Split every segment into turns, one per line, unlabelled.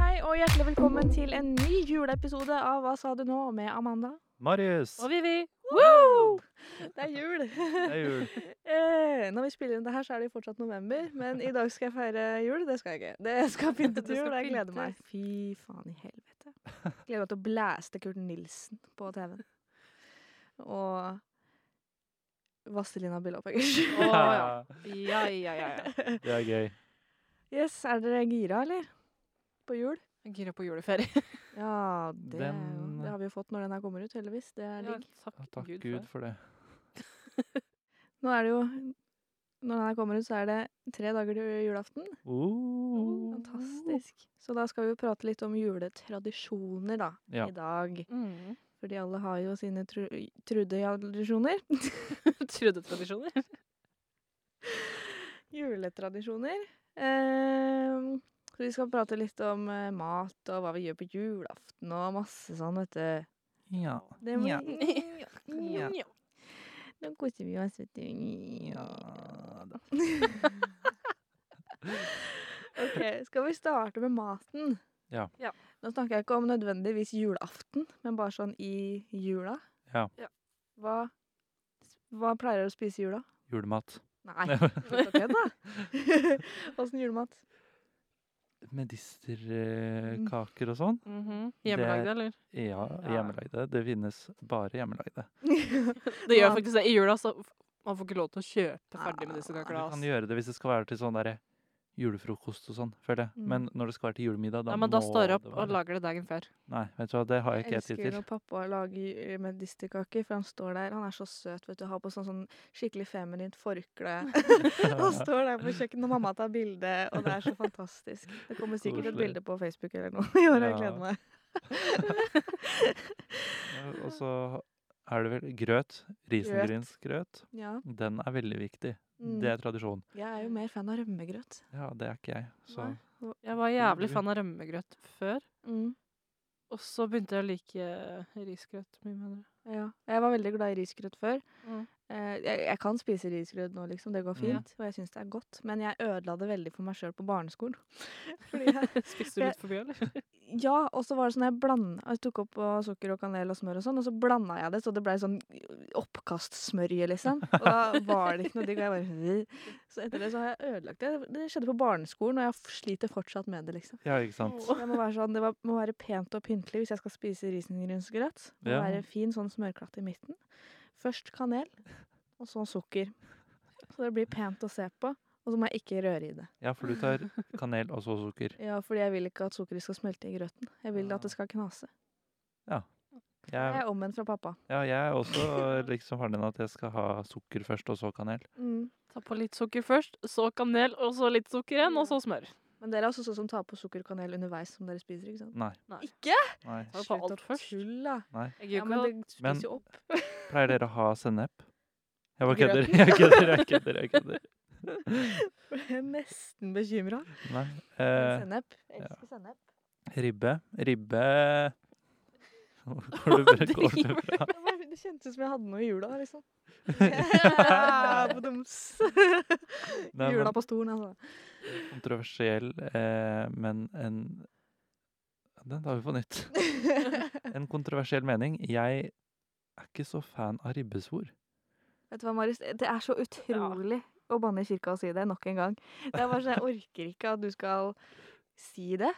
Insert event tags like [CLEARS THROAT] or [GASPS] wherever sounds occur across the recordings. Hei og hjertelig velkommen til en ny juleepisode av Hva sa du nå? med Amanda.
Marius!
Og Vivi.
Woo! Det er jul! [LAUGHS]
Det er jul.
Eh, Når vi spiller inn det her, så er det jo fortsatt november. Men i dag skal jeg feire jul. Det skal jeg ikke. Det jeg skal
[LAUGHS]
pynte
Du
til jul,
skal
og jeg gleder
pynte.
meg. Fy faen i helvete. Gleder meg til å blæste Kurt Nilsen på TV-en. Og Vastelina Billopphøggers.
Å ja. Ja, ja, ja. ja.
Det er gøy.
[LAUGHS] Yes, er dere gira, eller? På jul?
Jeg er Gira på juleferie.
Ja, det, er jo,
Den-
det har vi jo fått når den her kommer ut, heldigvis. Det er digg.
takk,
Ja, takk Gud for det.
Nå er det jo Når den her kommer ut, så er det tre dager til julaften.
Oh.
Fantastisk. Så da skal vi jo prate litt om juletradisjoner da,
Ja.
i dag.
Mm. [LAUGHS]
Fordi alle har jo sine tru trudejadisjoner.
Trudetradisjoner.
[LAUGHS] Juletradisjoner. Ehm, så vi skal prate litt om eh, mat og hva vi gjør på julaften og masse sånn, vet du.
Ja.
Det må
Ja.
ja.
[LAUGHS] Ja.
Nå koser vi oss, vet du.
ja da.
Ok, skal vi starte med maten?
Ja.
Ja.
Nå snakker jeg ikke om nødvendigvis julaften, men bare sånn i jula.
Ja.
Ja.
Hva, hva pleier dere å spise i jula?
Julemat.
Nei,
[LAUGHS]
slutt å kødde, da! [LAUGHS] Åssen julemat?
Medisterkaker og sånn.
Mhm.
Det-
Hjemmelagde, eller?
Ja,
Ja.
hjemmelagde. Det finnes bare hjemmelagde.
Det gjør
Ja. Ah.
faktisk det. I jula så f- man får ikke lov til å kjøpe ferdig med disse
Du kan
kakelas.
gjøre det hvis det skal være til sånn derre julefrokost og sånn, føler jeg.
Mm.
Men når det skal være til julemiddag, da
Nei, men da
må
står jeg opp
det
og
være-
lager det dagen før.
Nei, vet du hva, det har jeg
Jeg
ikke tid
elsker
til.
når pappa lager eh, medisterkaker, for han står der. Han er så søt, vet du. Har på sånn, sånn skikkelig feminint forkle. [LAUGHS] han står der på kjøkkenet, og mamma tar bilde, og det er så fantastisk. Det kommer sikkert et
Koselig.
bilde på Facebook eller noe [LAUGHS] i år, jeg
Ja.
gleder meg.
Eh, Og så er det vel grøt. Risengrynsgrøt.
Ja.
Den er veldig viktig.
Mm.
Det er tradisjon.
Jeg er jo mer fan av rømmegrøt.
Ja, det er ikke jeg. Så
Nei.
Jeg var jævlig fan av rømmegrøt før,
Mm.
og så begynte jeg å like eh, risgrøt mye bedre.
Ja. Jeg var veldig glad i risgrøt før.
Mm.
Eh, jeg, jeg kan spise risgrøt nå, liksom. Det går
Mm.
fint. Og jeg syns det er godt. Men jeg ødela det veldig for meg sjøl på barneskolen. [LAUGHS] Fordi jeg
Spiste du litt for mye, eller?
Ja, og så var det sånn jeg blanda Jeg tok opp av sukker og kanel og smør og sånn, og så blanda jeg det, så det blei sånn oppkastsmørje, liksom. Og da var det ikke noe digg. Og jeg bare «Øh». Så etter det så har jeg ødelagt det. Det skjedde på barneskolen, og jeg f- sliter fortsatt med det, liksom.
Ja, ikke sant.
Så jeg må være sånn, Det var, må være pent og pyntelig hvis jeg skal spise risengrynsgrøt. Det må
Ja.
være fin sånn smørklatt i midten. Først kanel, og så sukker. Så det blir pent å se på. Og så må jeg ikke røre i det.
Ja, for du tar kanel og så sukker.
Ja, Fordi jeg vil ikke at sukkeret skal smelte i grøten. Jeg vil at det skal knase. Jeg
Jeg,
er omvendt fra pappa.
ja, jeg er også liksom har den at jeg skal ha sukker først, og så kanel.
Mm.
Ta på litt sukker først, så kanel, og så litt sukker igjen, og så smør.
Men dere er også sånn som tar på sukker og kanel underveis som dere spiser, ikke sant?
Nei.
Nei.
Ikke?
nei.
Ta på alt først.
tulle, da.
nei.
Jeg
Ja,
gidder
men
ikke å
det
Men-
spiser jo opp. [LAUGHS]
Pleier dere å ha sennep? Jeg bare kødder.
Grøten.
[LAUGHS] Jeg kødder, jeg kødder. jeg kødder. [LAUGHS]
Jeg er nesten bekymra.
Nei. Eh,
Sennep. Jeg
ja.
elsker sennep.
ribbe. Ribbe [LAUGHS] Går det bra? Går
[LAUGHS]
det
[LAUGHS]
bra?
Det var- Det kjentes ut som jeg hadde noe i jula,
[LAUGHS]
liksom. Ja, på dums.
Nei, men
Jula på stolen, [LAUGHS] altså.
kontroversiell, eh, men en Den tar vi på nytt. [LAUGHS] En kontroversiell mening. Jeg er ikke så fan av ribbesvor.
Vet du hva, Marius? Det er så utrolig å banne i kirka og si det nok en gang. Det er bare sånn, Jeg orker ikke at du skal si det.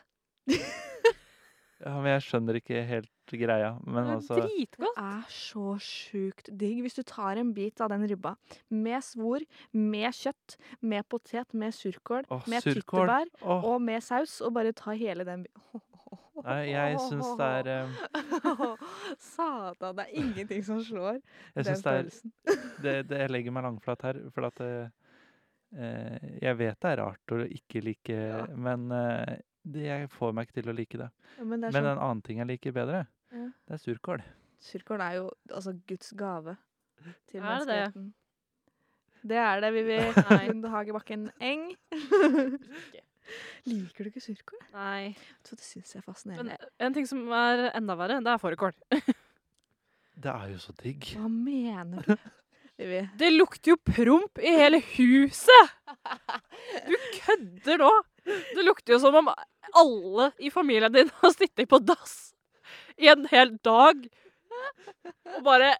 Ja, men jeg skjønner ikke helt greia. Men
Det
altså
er dritgodt.
er så sjukt digg. Hvis du tar en bit av den ribba med svor, med kjøtt, med potet, med surkål,
Åh,
med
surkål.
tyttebær
Åh,
og med saus, og bare ta hele den bi-
nei, jeg syns det er eh,
[LAUGHS] Satan, det er ingenting som slår
[LAUGHS] Jeg
den
syns det er
følelsen.
det, det, Jeg legger meg langflat her, for at eh, eh, Jeg vet det er rart å ikke like
Ja.
Men eh, det, jeg får meg ikke til å like det.
Ja, Men det er
Men
sånn, Mm.
en annen ting jeg liker bedre,
Ja.
det er surkål.
surkål er jo altså Guds gave til
Er det det?
menneskeheten. Det er det, Vivi [LAUGHS]
Nei.
Lund Hagebakken Eng. Liker du ikke surkål?
Nei.
Vet du hva, Det syns jeg er
Men
fascinerende.
en ting som er enda verre, det er fårikål.
Det er jo så digg.
Hva mener du? [LAUGHS] Vivi,
Det lukter jo promp i hele huset! Du kødder nå! Det lukter jo som om alle i familien din har sittet på dass i en hel dag. Og bare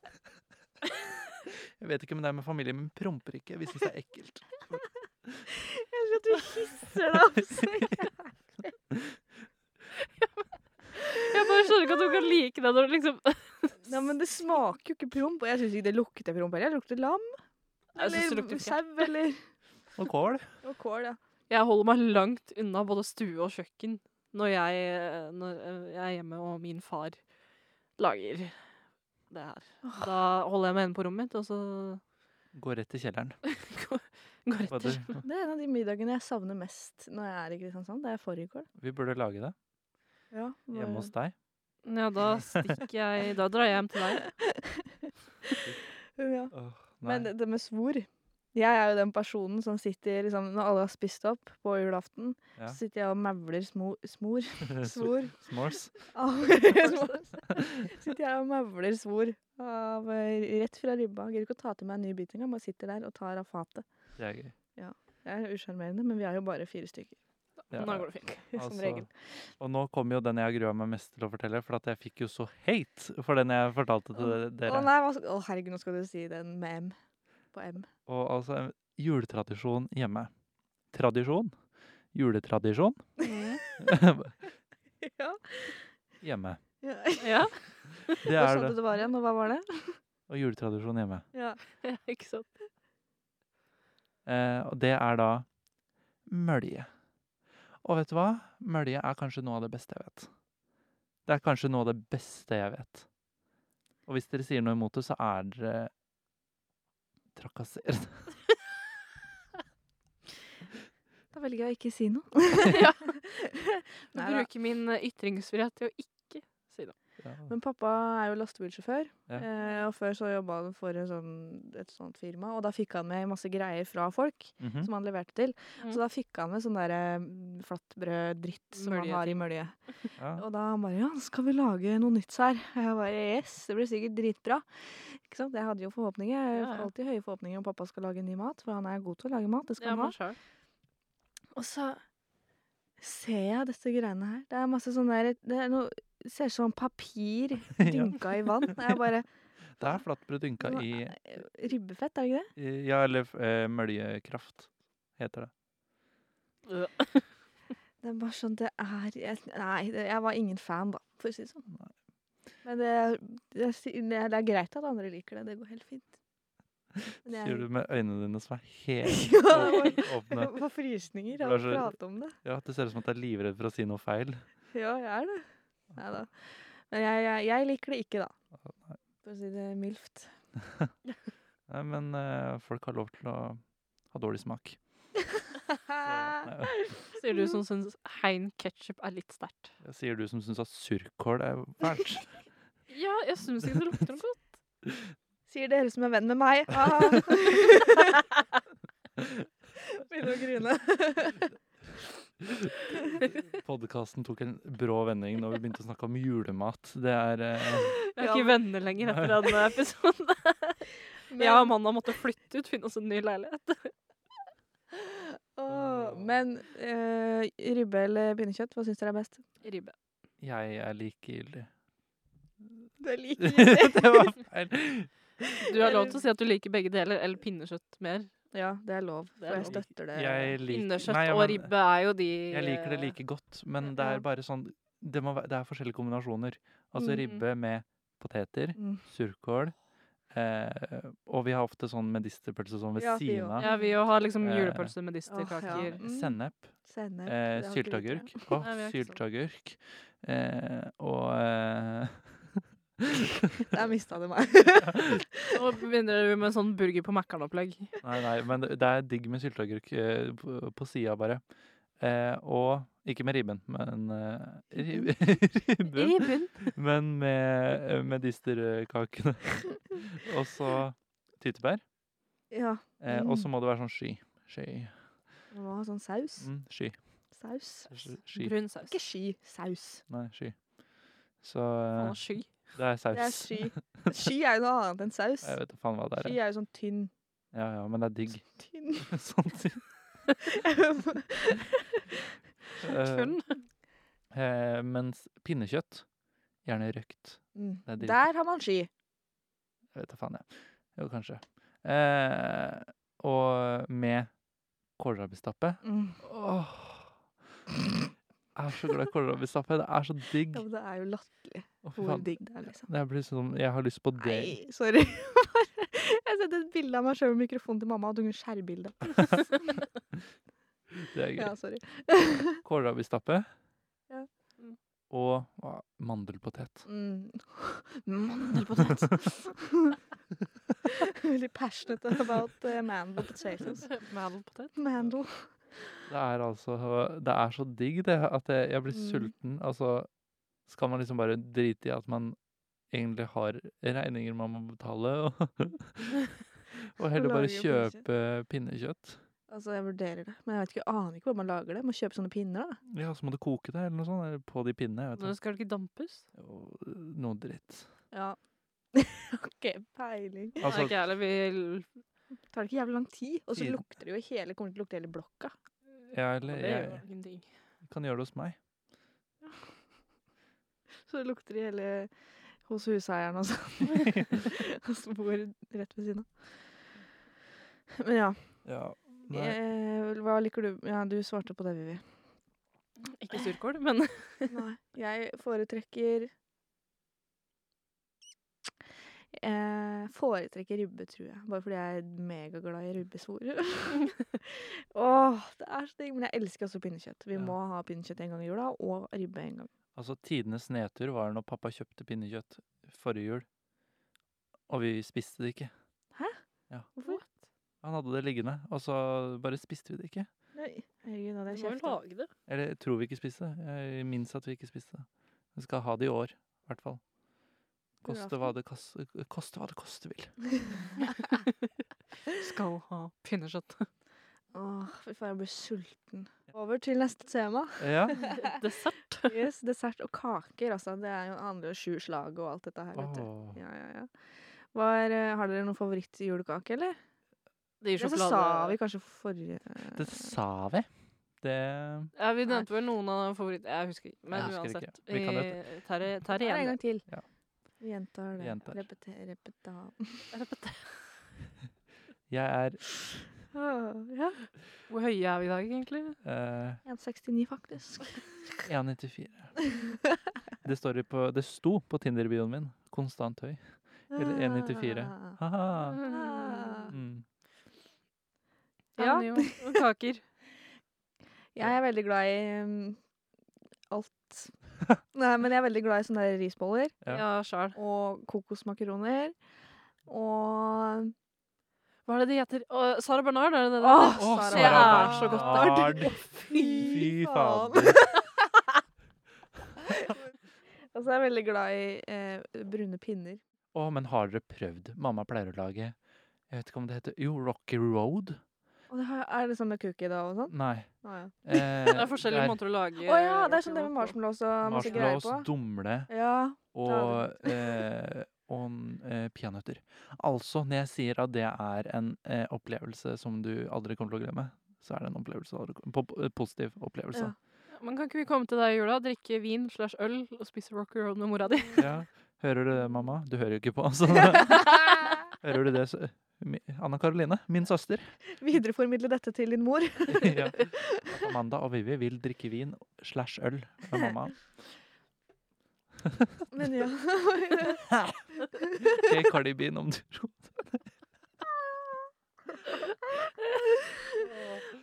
Jeg vet ikke om det er med familie, men promper ikke. Vi syns det er ekkelt.
jeg elsker at du hisser deg opp [LAUGHS] så jævlig.
Jeg bare skjønner ikke at du kan like det når du liksom [LAUGHS]
Nei, men det smaker jo ikke promp, og jeg syns ikke det lukter promp heller. Det lukter lam
Jeg synes det
eller
lukter
sau
fjert.
eller
Og kål.
[LAUGHS] Og kål, ja.
Jeg holder meg langt unna både stue og kjøkken når jeg, eh, når eh, jeg er hjemme og min far lager det her. Da holder jeg meg inne på rommet mitt, og så
Går rett til kjelleren.
går går jeg etter.
Bader.
Det er en av de middagene jeg savner mest når jeg er i Kristiansand. Det er fårikål.
Vi burde lage det
Ja,
hjemme hos deg.
Ja, da stikker jeg Da drar jeg hjem til deg.
ja.
Åh, nei.
Men
[LAUGHS]
det, det med svor Jeg er jo den personen som sitter liksom, Når alle har spist opp på julaften,
Ja.
så sitter jeg og mavler smo,
[LAUGHS]
smor. Svor.
S'mores. [LAUGHS]
av [LAUGHS] smor. sitter jeg og mavler svor av, eh, rett fra ribba. Gidder ikke å ta til meg en ny bit engang. Bare sitter der og tar av fatet.
Det er gøy.
Det er usjarmerende, men vi er jo bare fire stykker.
Ja, Altså,
Nå går det fint.
[LAUGHS] Som regel.
Og nå kommer jo den jeg har grua meg mest til å fortelle, for at jeg fikk jo så hate for den jeg fortalte til
Å
dere.
nei, hva, sk- å, herregud, nå skal du si den med M. På
[LAUGHS]
M.
Og altså, en juletradisjon hjemme. Tradisjon. Juletradisjon [LAUGHS]
Mm.
ja.
hjemme.
ja. [LAUGHS]
Ja,
Det
Hva
er
sa
det.
du det var igjen, og hva var
[LAUGHS]
det?
Og juletradisjon hjemme.
Ja.
ikke sant?
Eh, og det er da mølje. Og vet du hva? Mølje er kanskje noe av det beste jeg vet. Det er kanskje noe av det beste jeg vet. Og hvis dere sier noe imot det, så er dere trakasserende.
Da velger jeg å ikke si noe.
Ja. Du
Neida.
bruker min eh, ytringsfrihet til å ikke si det.
[LAUGHS] Ja.
Men pappa er jo lastebilsjåfør,
Ja.
eh, og før så jobba han for en sånn, et sånt firma. Og da fikk han med masse greier fra folk
Mhm.
som han leverte til.
Mm.
Så da fikk han med sånn der eh, flatbrød-dritt som
Mølje.
han har i mølje.
[LAUGHS] ja.
Og da han bare Ja, skal vi lage noe nytt her? [LAUGHS] Og jeg bare Yes, det blir sikkert dritbra. Ikke sant? Jeg hadde jo forhåpninger. Jeg
Ja,
har
ja.
alltid høye forhåpninger om pappa skal lage ny mat, for han er god til å lage mat. Det skal
Ja,
han ha.
men sjøl.
Og så ser jeg disse greiene her. Det er masse sånn der Det er noe, ser ut som papir dynka i vann. Og Jeg bare
Det er flatbrød dynka
Nå
i
Ribbefett, er det ikke det?
i- Ja, eller eh, møljekraft, heter det.
Det er bare sånn Det er jeg, Nei, det, jeg var ingen fan, da, for å si det sånn.
Nei.
Men det, det, det er greit at andre liker det. Det går helt fint. Men jeg-
Sier du med øynene dine som er helt
Ja,
åp- åpne.
Jeg [LAUGHS] får frysninger
Du
av å
er så-
prate om det.
Ja, Det ser ut som at du er livredd for å si noe feil.
Ja, jeg er det. Nei da. Men jeg, jeg, jeg liker det ikke, da. For å si det mildt.
Nei, men eh, folk har lov til å ha dårlig smak.
[LAUGHS]
Så, nei,
Sier du sånn som syns hein ketsjup er litt sterkt.
Jeg sier du som syns at surkål er fælt.
Ja, jeg syns ikke det lukter noe godt.
Sier dere som er venn med
[LAUGHS]
meg. Ah. [LAUGHS] Begynner å grine.
Podkasten tok en brå vending når vi begynte å snakke om julemat. Det er eh,
Vi er ikke venner lenger etter den [LAUGHS] episoden.
Men,
Jeg og Amanda måtte flytte ut, finne oss en ny leilighet.
Åh, men eh, ribbe eller pinnekjøtt, hva syns dere er best?
Ribbe.
Jeg er likegyldig.
Det
[LAUGHS]
liker
det var feil.
Du har lov til å si at du liker begge deler, eller pinnekjøtt mer.
Ja, det er lov.
Det er
For jeg
lov.
støtter det.
Jeg liker,
Pinnekjøtt
nei, ja,
og
men
ribbe er jo de
jeg liker det like godt, men det
Ja.
er bare sånn Det, må, være- det er forskjellige kombinasjoner. Altså
Mhm.
ribbe med poteter,
Mm.
surkål eh, Og vi har ofte sånn medisterpølse sånn ved
Ja, vi
siden
også.
av.
Ja, vi jo har liksom
Eh,
julepølse, medisterkaker.
Åh, ja. Mm.
Sennep.
Sennep.
Eh,
det har ikke vi
Sylteagurk.
ikke. [LAUGHS]
Å,
Nei, vi har ikke sånn.
sylteagurk. Eh, og eh,
Der mista
[LAUGHS]
du meg.
Nå begynner du med sånn burger på Mækkern-opplegg.
Nei, nei, men det det er digg med sylteagurk eh, på, på sida, bare. Eh, og ikke med ribben, men eh, rib- [LAUGHS] Ribben?
Ribben.
Men
[LAUGHS]
med eh, medisterkakene. og så tyttebær.
Ja.
Eh,
Mm.
og så må det være sånn sky. Sky.
Man må ha sånn saus.
Mm, sky.
Saus.
sky.
Brun saus.
Ikke sky, saus.
Nei, sky. Så
Faen,
eh,
sky.
det er saus.
Det er
[LAUGHS]
sky. Sky er jo noe annet enn saus.
Jeg vet da faen hva det
Sky
er. jeg.
er jo sånn tynn.
Ja, ja, men det er digg.
[LAUGHS]
Tynn.
[LAUGHS] sånn ting. Eh,
Tønn.
eh, mens pinnekjøtt, gjerne røkt.
Mm.
Det er dritgodt.
Der har man sky.
Jeg vet da faen, jeg. Jo, kanskje. Eh, og med kålrabistappe.
Mm.
Åh. Jeg er så glad i kålrabistappe. Det er så digg.
Ja, men det er jo latterlig
Å, fy
hvor
faen.
digg det er, liksom.
Det blir sånn, jeg har lyst på det.
Nei, sorry. [LAUGHS] Jeg sendte et bilde av meg sjøl med mikrofonen til mamma, og hun
[LAUGHS]
skjærbilde.
Det er
Ja,
greit.
sorry.
Kålrabistappe.
Ja.
Mm.
Og hva, mandelpotet.
Mm. [LAUGHS] Mandelpotet. [LAUGHS] Veldig passionate about uh, mandel potatoes.
[LAUGHS] Mandelpotet.
Mandel.
Det er altså Det er så digg, det, at jeg, jeg blir
Mm.
sulten. Altså, skal man liksom bare drite i at man egentlig har regninger man må betale,
[LAUGHS]
og, og heller bare
lage
kjøpe pinnekjøtt?
Altså, jeg vurderer det, men jeg vet ikke, jeg aner ikke hvor man lager det. Må kjøpe sånne pinner, da.
Ja, så må du koke det, eller noe sånt. Eller på de pinnene. Jeg
Nå
vet ikke.
skal det ikke dampes.
Og Noe dritt.
Ja. [LAUGHS] OK, peiling.
Altså,
Altså,
ikke heller vil...
Tar det ikke jævlig lang tid, og så
Tiden.
lukter det jo i hele Kommer til å lukte hele blokka.
ja,
Ja,
eller
det gjør
jeg
ingenting.
kan gjøre det hos meg.
Så det lukter i hele hos huseieren og sånn. [LAUGHS] Han som bor rett ved siden av. Men ja.
Ja. Nei.
Eh, hva liker du Ja, du svarte på det, Vivi.
Ikke surkål,
[LAUGHS]
men
Nei. Jeg foretrekker eh, Foretrekker ribbe, tror jeg. Bare fordi jeg er megaglad i ribbesvor. Åh, det er så digg. Men jeg elsker også pinnekjøtt. Vi
Ja.
må ha pinnekjøtt en gang i jula, og ribbe en gang.
Altså, tidenes nedtur var når pappa kjøpte pinnekjøtt forrige jul, og vi spiste det ikke.
Hvorfor?
Han hadde det liggende, og så bare spiste vi det ikke.
Nei. Herregud, nå
Du
hadde jeg
må jo
kjeft. da.
lage det.
Eller jeg tror vi ikke spiste det. Jeg minnes at vi ikke spiste det. Vi skal ha det i år, i hvert fall. Koste hva det kas- koste, hva det koste vil.
Skal ha [LAUGHS] pinnekjøtt.
Åh, fy faen, jeg blir sulten. Over til neste tema.
Ja,
[LAUGHS] Dessert.
Yes, dessert og kaker, altså. Det er jo handler jo om sju slag og alt dette her. vet du.
Åh.
Ja, ja, ja. Hva er, eh, har dere noen favorittjulekake, eller? Ja,
Det gir
så sa vi kanskje forrige
det sa vi. Det
Ja, vi nevnte vel noen av favorittene. Jeg husker ikke. Men
Jeg husker ikke.
uansett.
Vi kan
eh, tar det- tar det
Nei, En
igjen.
gang til.
Ja.
Vi gjentar det.
Gjentar.
Repeter, repeta.
Jeg er
Åh, [LAUGHS] Ja. [LAUGHS]
Hvor høye er vi i dag, egentlig?
eh,
1,69 faktisk.
1,94. Det, står i på, det sto på Tinder-bioen min. Konstant høy. Eller 1,94.
Ah.
Haha.
Ah.
Mm.
Ja.
Ja.
Og kaker.
Jeg er veldig glad i mm,
[LAUGHS]
alt. Nei, men jeg er veldig glad i sånne der risboller
Ja.
Ja, sjæl.
og kokosmakaroner. Og
Hva er det de heter? Å, Sara Bernard, er det det?
Åh,
der?
Å,
Sara
Sara
Bernard.
er så godt.
Bernard. Fy
Fy faen.
fader.
Og så er jeg veldig glad i eh, brune pinner.
Å, men har dere prøvd? Mamma pleier å lage Jeg vet ikke om det heter Jo, Rocky Road?
Og det har, er det sånn med cookie da og sånn?
Nei.
Å ja.
Eh,
Det er forskjellige måter å lage
Å ja, det er sånn det med
rocky roll på.
marshmallows og masse greier
Marshmallows,
på.
dumle
Ja.
og, eh, og n- eh, peanøtter. Altså, når jeg sier at det er en eh, opplevelse som du aldri kommer til å glemme, så er det en opplevelse, du aldri kom- po- po- positiv opplevelse.
Men kan ikke vi komme til deg i jula, drikke vin slash øl og spise rocky road med [LAUGHS] mora di?
Ja. [LAUGHS] Hører du det, mamma? Du hører jo [LAUGHS] ikke på, altså. Hører du det, så Mi- Anna Karoline, min søster. [LAUGHS]
Videreformidle dette til din mor.
ja. Amanda og Vivi vil drikke vin slash øl med [LAUGHS] mamma.
Men
[LAUGHS]
ja.
til Cardi B om du tror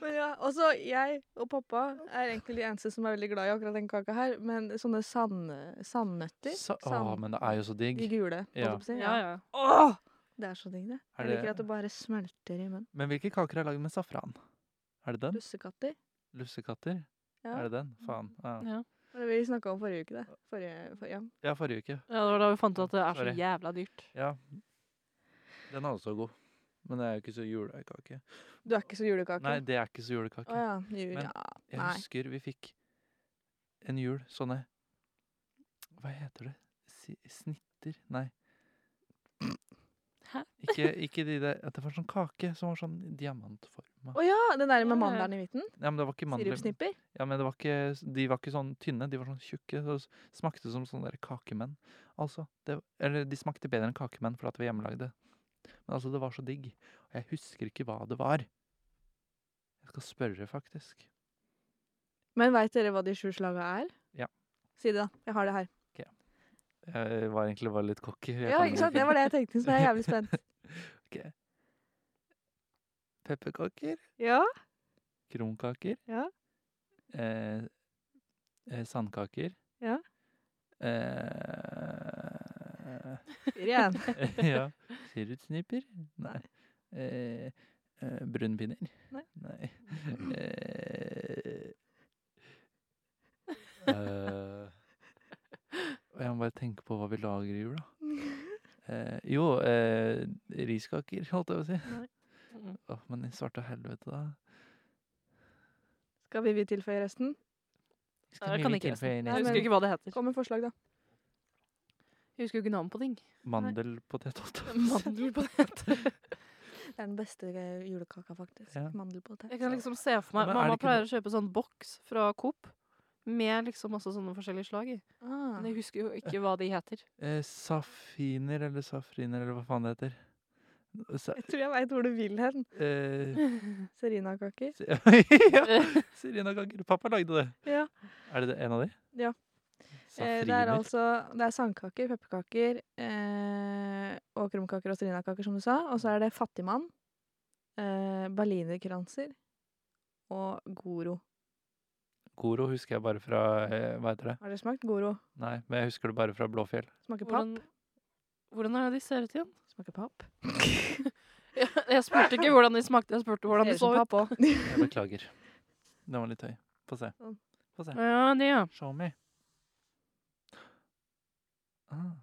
Men ja. Og så jeg og pappa er egentlig de eneste som er veldig glad i akkurat den kaka her. Men sånne sand, sandnøtter.
Så, å,
Sand-
men det er jo så digg.
de gule, holdt jeg
Ja.
på å si.
Ja, ja.
Åh! Det er så digg, det.
Er
Jeg
det-
liker at det bare smelter i munnen.
Men hvilke kaker er lagd med safran? Er det den?
Lussekatter.
Lussekatter?
Ja.
Er det den? Faen. Ja,
ja.
Det var det vi snakka om forrige uke, det. Forrige, for, ja.
ja forrige uke.
Ja, det var da vi fant ut at det er
Sorry.
så jævla dyrt.
Ja. Den er også god. Men det er jo ikke så julekake.
Du er ikke så julekake?
Nei, det er ikke så julekake.
Å ja. Ju
Men-
ja.
Jeg
Nei.
husker vi fikk en jul sånne Hva heter det? Si, snitter? Nei.
Hæ?
Ikke, ikke de der Det var sånn kake som var sånn diamantforma.
Å ja, den der med
Ja.
mandelen i midten?
Ja, men det var ikke mandler.
Sirupsnipper?
Ja, men det var ikke, de var ikke sånn tynne, de var sånn tjukke. Så s- smakte som sånne der kakemenn. Altså, det, eller de smakte bedre enn kakemenn fordi at vi hjemmelagde. Men altså, det var så digg. Og jeg husker ikke hva det var. Jeg skal spørre, faktisk.
Men veit dere hva de sju slaga er?
Ja.
Si det, da. Jeg har det her.
Jeg var egentlig bare litt cocky. Jeg
Ja,
kan
ikke
det
sant? Det var det jeg tenkte, så jeg er jævlig spent.
Pepperkaker,
Ja?
kronkaker,
Ja.
eh, eh, sandkaker
Ja.
eh,
Ren.
[LAUGHS]
[LAUGHS]
ja. Sirutsniper? Nei. Eh, eh, Brunpinner?
Nei. [LAUGHS]
Nei. Eh, eh, og jeg må bare tenke på hva vi lager i
[LAUGHS]
jula. Eh, jo, eh, riskaker, holdt jeg på å si.
Nei.
Mm.
Åh, men i svarte helvete, da.
Skal vi tilføye resten?
Jeg kan ikke resten.
Nei,
Jeg
men-
husker ikke hva det heter.
Kom med forslag, da.
Jeg husker jo ikke navn på ting.
Mandelpotet. holdt jeg på å si.
[LAUGHS] Mandelpotet.
[LAUGHS] Det er den beste eh, julekaka, faktisk.
Ja.
Mandelpotet.
Jeg kan liksom se for meg
Men er
Mamma
det ikke
pleier å kjøpe sånn boks fra Coop med liksom masse sånne forskjellige slag i.
Ah.
Men jeg husker jo ikke hva de heter.
Eh, safiner eller safriner eller hva faen det heter. Sa,
Jeg tror jeg veit hvor du vil hen.
eh,
Serinakaker.
se- [LAUGHS]
[LAUGHS]
ja, Sirenakaker. Pappa lagde det.
Ja.
Er det det- en av de?
Ja. Eh,
Safriner.
det er altså det er sandkaker, pepperkaker eh, og krumkaker og serinakaker, som du sa. Og så er det fattigmann, eh, berlinerkranser og goro.
Goro husker jeg bare fra eh, Hva heter det?
Har dere smakt goro?
Nei, men jeg husker det bare fra Blåfjell.
Smaker papp.
Hvordan, hvordan er det de ser ut [LAUGHS] igjen?
Smaker papp.
Jeg, jeg spurte ikke hvordan de smakte, jeg spurte hvordan de
Ser ut
så
som
ut.
papp også. [LAUGHS]
Jeg [LAUGHS] beklager. Den var litt høy. Få se.
Sånn.
Få se.
Ja, de, ja.
Show me. Ah.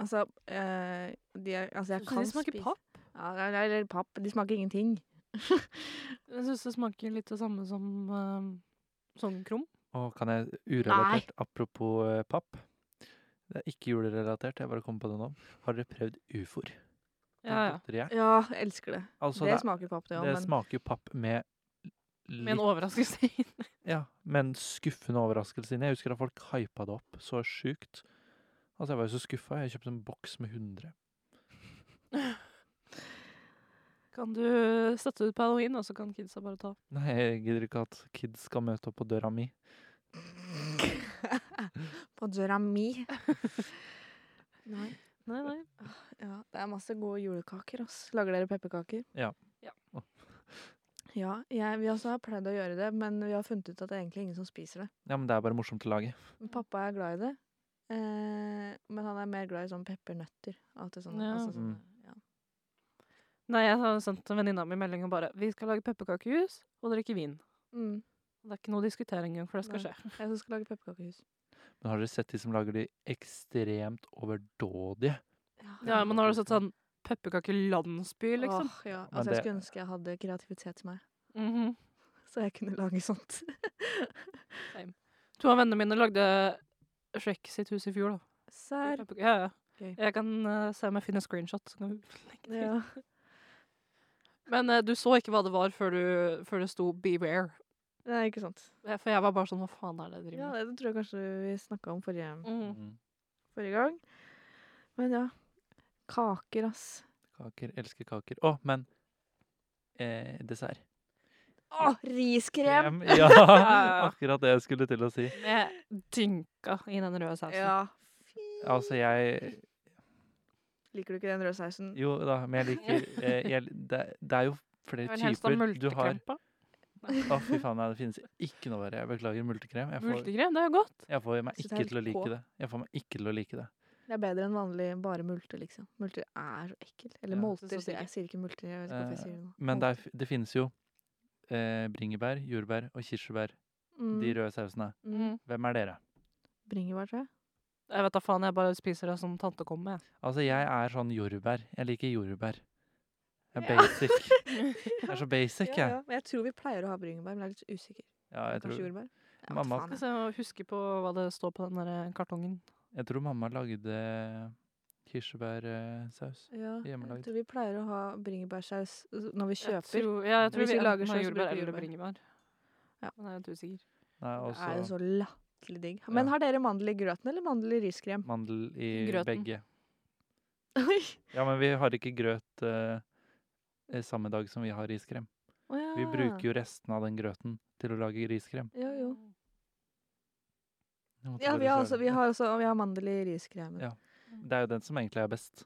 Altså, eh, de er, altså jeg
Synes du
kan
de smaker
spise-
papp?
Ja, det er- det er papp. De smaker ingenting.
Jeg syns det smaker litt det samme som eh, sånn krum.
Å, kan jeg urelatert Apropos eh, papp. Det er ikke julerelatert, jeg bare kom på det nå. Har dere prøvd ufoer?
Ja, ja.
Godteriet?
Ja, jeg elsker det.
Altså,
det,
det,
smaker papp, det
det,
òg, men
smaker jo papp med
Med en
litt-
overraskelse inn.
ja, med en skuffende overraskelse inni. Jeg husker at folk hypa det opp så sjukt. Altså, jeg var jo så skuffa. Jeg kjøpte en boks med 100.
Kan du sette ut på halloween, og så kan kidsa bare ta.
Nei, jeg gidder ikke at kids skal møte opp på døra mi.
på døra
[LAUGHS]
mi Nei.
Nei, nei.
Ja, det er masse gode julekaker, ass. Lager dere pepperkaker?
Ja. [LAUGHS]
Ja.
Ja, jeg, vi også har pleid å gjøre det, men vi har funnet ut at det er egentlig ingen som spiser det.
Ja, men det er bare morsomt å lage.
Men pappa er glad i det, eh, men han er mer glad i sånn peppernøtter. Alt det sånne.
Ja.
Altså, sånne
Mm.
ja.
Nei, jeg har sendt venninna mi melding og bare 'Vi skal lage pepperkakehus og drikke vin'.
mm.
Det er ikke noe å diskutere engang, for det skal
Nei.
skje.
Jeg som skal lage pepperkakehus.
Men har dere sett de som lager de ekstremt overdådige?
Ja, men har du sett sånn pepperkakelandsby, liksom?
Åh, ja.
Men
Altså, jeg
det-
skulle ønske jeg hadde kreativitet til meg,
Mhm.
så jeg kunne lage sånt.
To av vennene mine lagde Shrek sitt hus i fjor, da.
Serr.
Pepperk- Ja, ja.
Gøy.
Jeg kan eh, se om jeg finner screenshot. Så kan vi legge til.
Ja.
Men eh, du så ikke hva det var før, du, før det sto 'beware'.
Nei, ikke sant.
Eh, For jeg var bare sånn 'hva faen er det jeg
Ja,
driver med'?
det tror jeg kanskje vi snakka om forrige,
Mm.
Mm.
forrige gang. Men ja. Kaker, ass.
Kaker. Elsker kaker. Å, men eh, dessert.
Å, riskrem!
Krem, Ja, [LAUGHS]
ja.
akkurat det jeg skulle til å si.
Med dynka i den røde sausen.
Ja.
Altså, jeg
Liker du ikke den røde sausen?
Jo da, men jeg liker eh, jeg, det, det er jo sånn
Jeg
flere
vil helst ha
typer du har.
multekrem på.
Å, fy faen, nei, det finnes ikke noe verre. Jeg beklager multekrem. Jeg får,
Multekrem, det er jo godt.
jeg får meg
Synes det
ikke
er
til å
helt
like
K.
det. Jeg får meg ikke til å like det.
Det er bedre enn vanlig bare multer, liksom. Multer er så ekkelt. Eller
Ja,
molter,
det synes
sier
jeg
jeg. Jeg sier ikke multer. Jeg vet ikke hvorfor jeg
Eh,
sier det nå.
Men det,
Molter.
er, f- det finnes jo eh, bringebær, jordbær og kirsebær. De røde sausene.
mm, mm.
Hvem er dere?
Bringebær, tror jeg.
Jeg vet da faen, jeg bare spiser det som tante kom med.
Altså, jeg er sånn jordbær. Jeg liker jordbær. Jeg Jeg
Ja.
er basic. Jeg er så basic,
ja,
jeg.
ja. Men jeg tror vi pleier å ha bringebær, men jeg er litt usikker.
Ja, jeg
Kanskje
tror,
jordbær? Jeg vet
Mamma-
faen, jeg.
Så huske på hva det står på den der eh, kartongen.
jeg tror mamma lagde eh, kirsebærsaus.
Ja,
Hjemmelagd.
jeg tror vi pleier å ha bringebærsaus når vi
Jeg
kjøper.
tror- Ja, jeg tror
Hvis
vi
vi lager
enten har
sjøl, så
jordbær
bruker vi
eller
jordbær.
bringebær.
Ja.
Men jeg er litt usikker.
Nei,
Det er jo
også
så latterlig digg. Men
altså- Ja.
har dere mandel i grøten eller mandel i riskrem? [LAUGHS]
mandel i
Grøten.
begge.
Oi!
Ja, men vi har ikke grøt eh, eh, samme dag som vi har riskrem.
Å ja.
Vi bruker jo resten av den grøten til å lage riskrem.
Jo, jo.
Jeg måtte
Ja,
bare
vi har,
søle.
også, vi har, også, vi har mandel i riskremen.
Ja. Det er jo den som egentlig er best.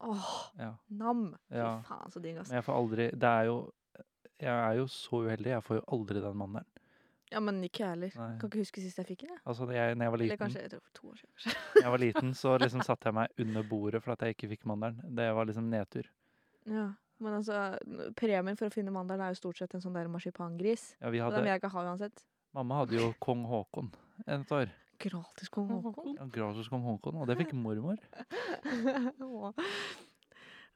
Åh,
Ja.
nam! Fy
Ja.
faen, så digg, altså. ass.
Men jeg får aldri Det er jo Jeg er jo så uheldig. Jeg får jo aldri den mandelen.
Ja, men ikke jeg heller.
Nei.
Kan ikke huske sist jeg fikk den. jeg.
Altså, jeg, når jeg var
Eller
liten,
kanskje jeg tror, for to år siden. kanskje. [LAUGHS]
jeg var liten, så liksom satte jeg meg under bordet for at jeg ikke fikk mandelen. Det var liksom nedtur.
Ja. Men altså, n- premien for å finne mandelen er jo stort sett en sånn der marsipangris.
Ja, vi
Og Den
hadde,
vil jeg ikke ha uansett.
mamma hadde jo kong Haakon et år.
Gratis kong
[LAUGHS]
Haakon.
Ja, Gratis kong Haakon, og det fikk mormor.
Å,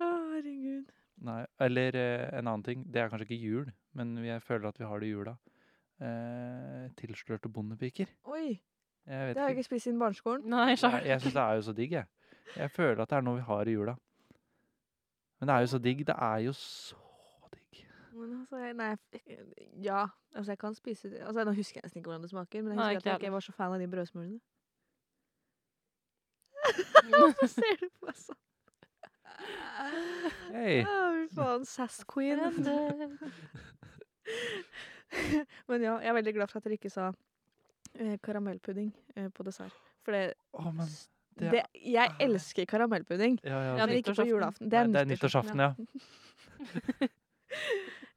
herregud.
Nei, eller eh, en annen ting. Det er kanskje ikke jul, men jeg føler at vi har det i jula. Eh, tilslørte bondepiker.
Oi,
Jeg vet
det har jeg
ikke.
ikke spist siden barneskolen.
Nei,
Jeg,
sjæl.
jeg syns det er jo så digg, jeg. Jeg føler at det er noe vi har i jula. Men det er jo så digg. Det er jo så digg.
Men altså, jeg, nei, jeg- ja, altså jeg kan spise det. Altså, nå husker jeg nesten ikke hvordan det smaker, men jeg husker
Nei,
at
ikke
jeg
heller.
ikke var så fan av de brødsmulene. Så ser du på meg sånn.
Hei!
Ah, Fy faen, sass queen.
eh,
Men ja, jeg er veldig glad for at dere ikke sa eh, karamellpudding eh, på dessert. For det,
Å, men Det
det, jeg
er-
elsker karamellpudding,
Ja, ja.
Ja,
men ikke på
nyttårsaften.
julaften.
Nei, det er
nyttårsaften,
nyttårsaften, ja.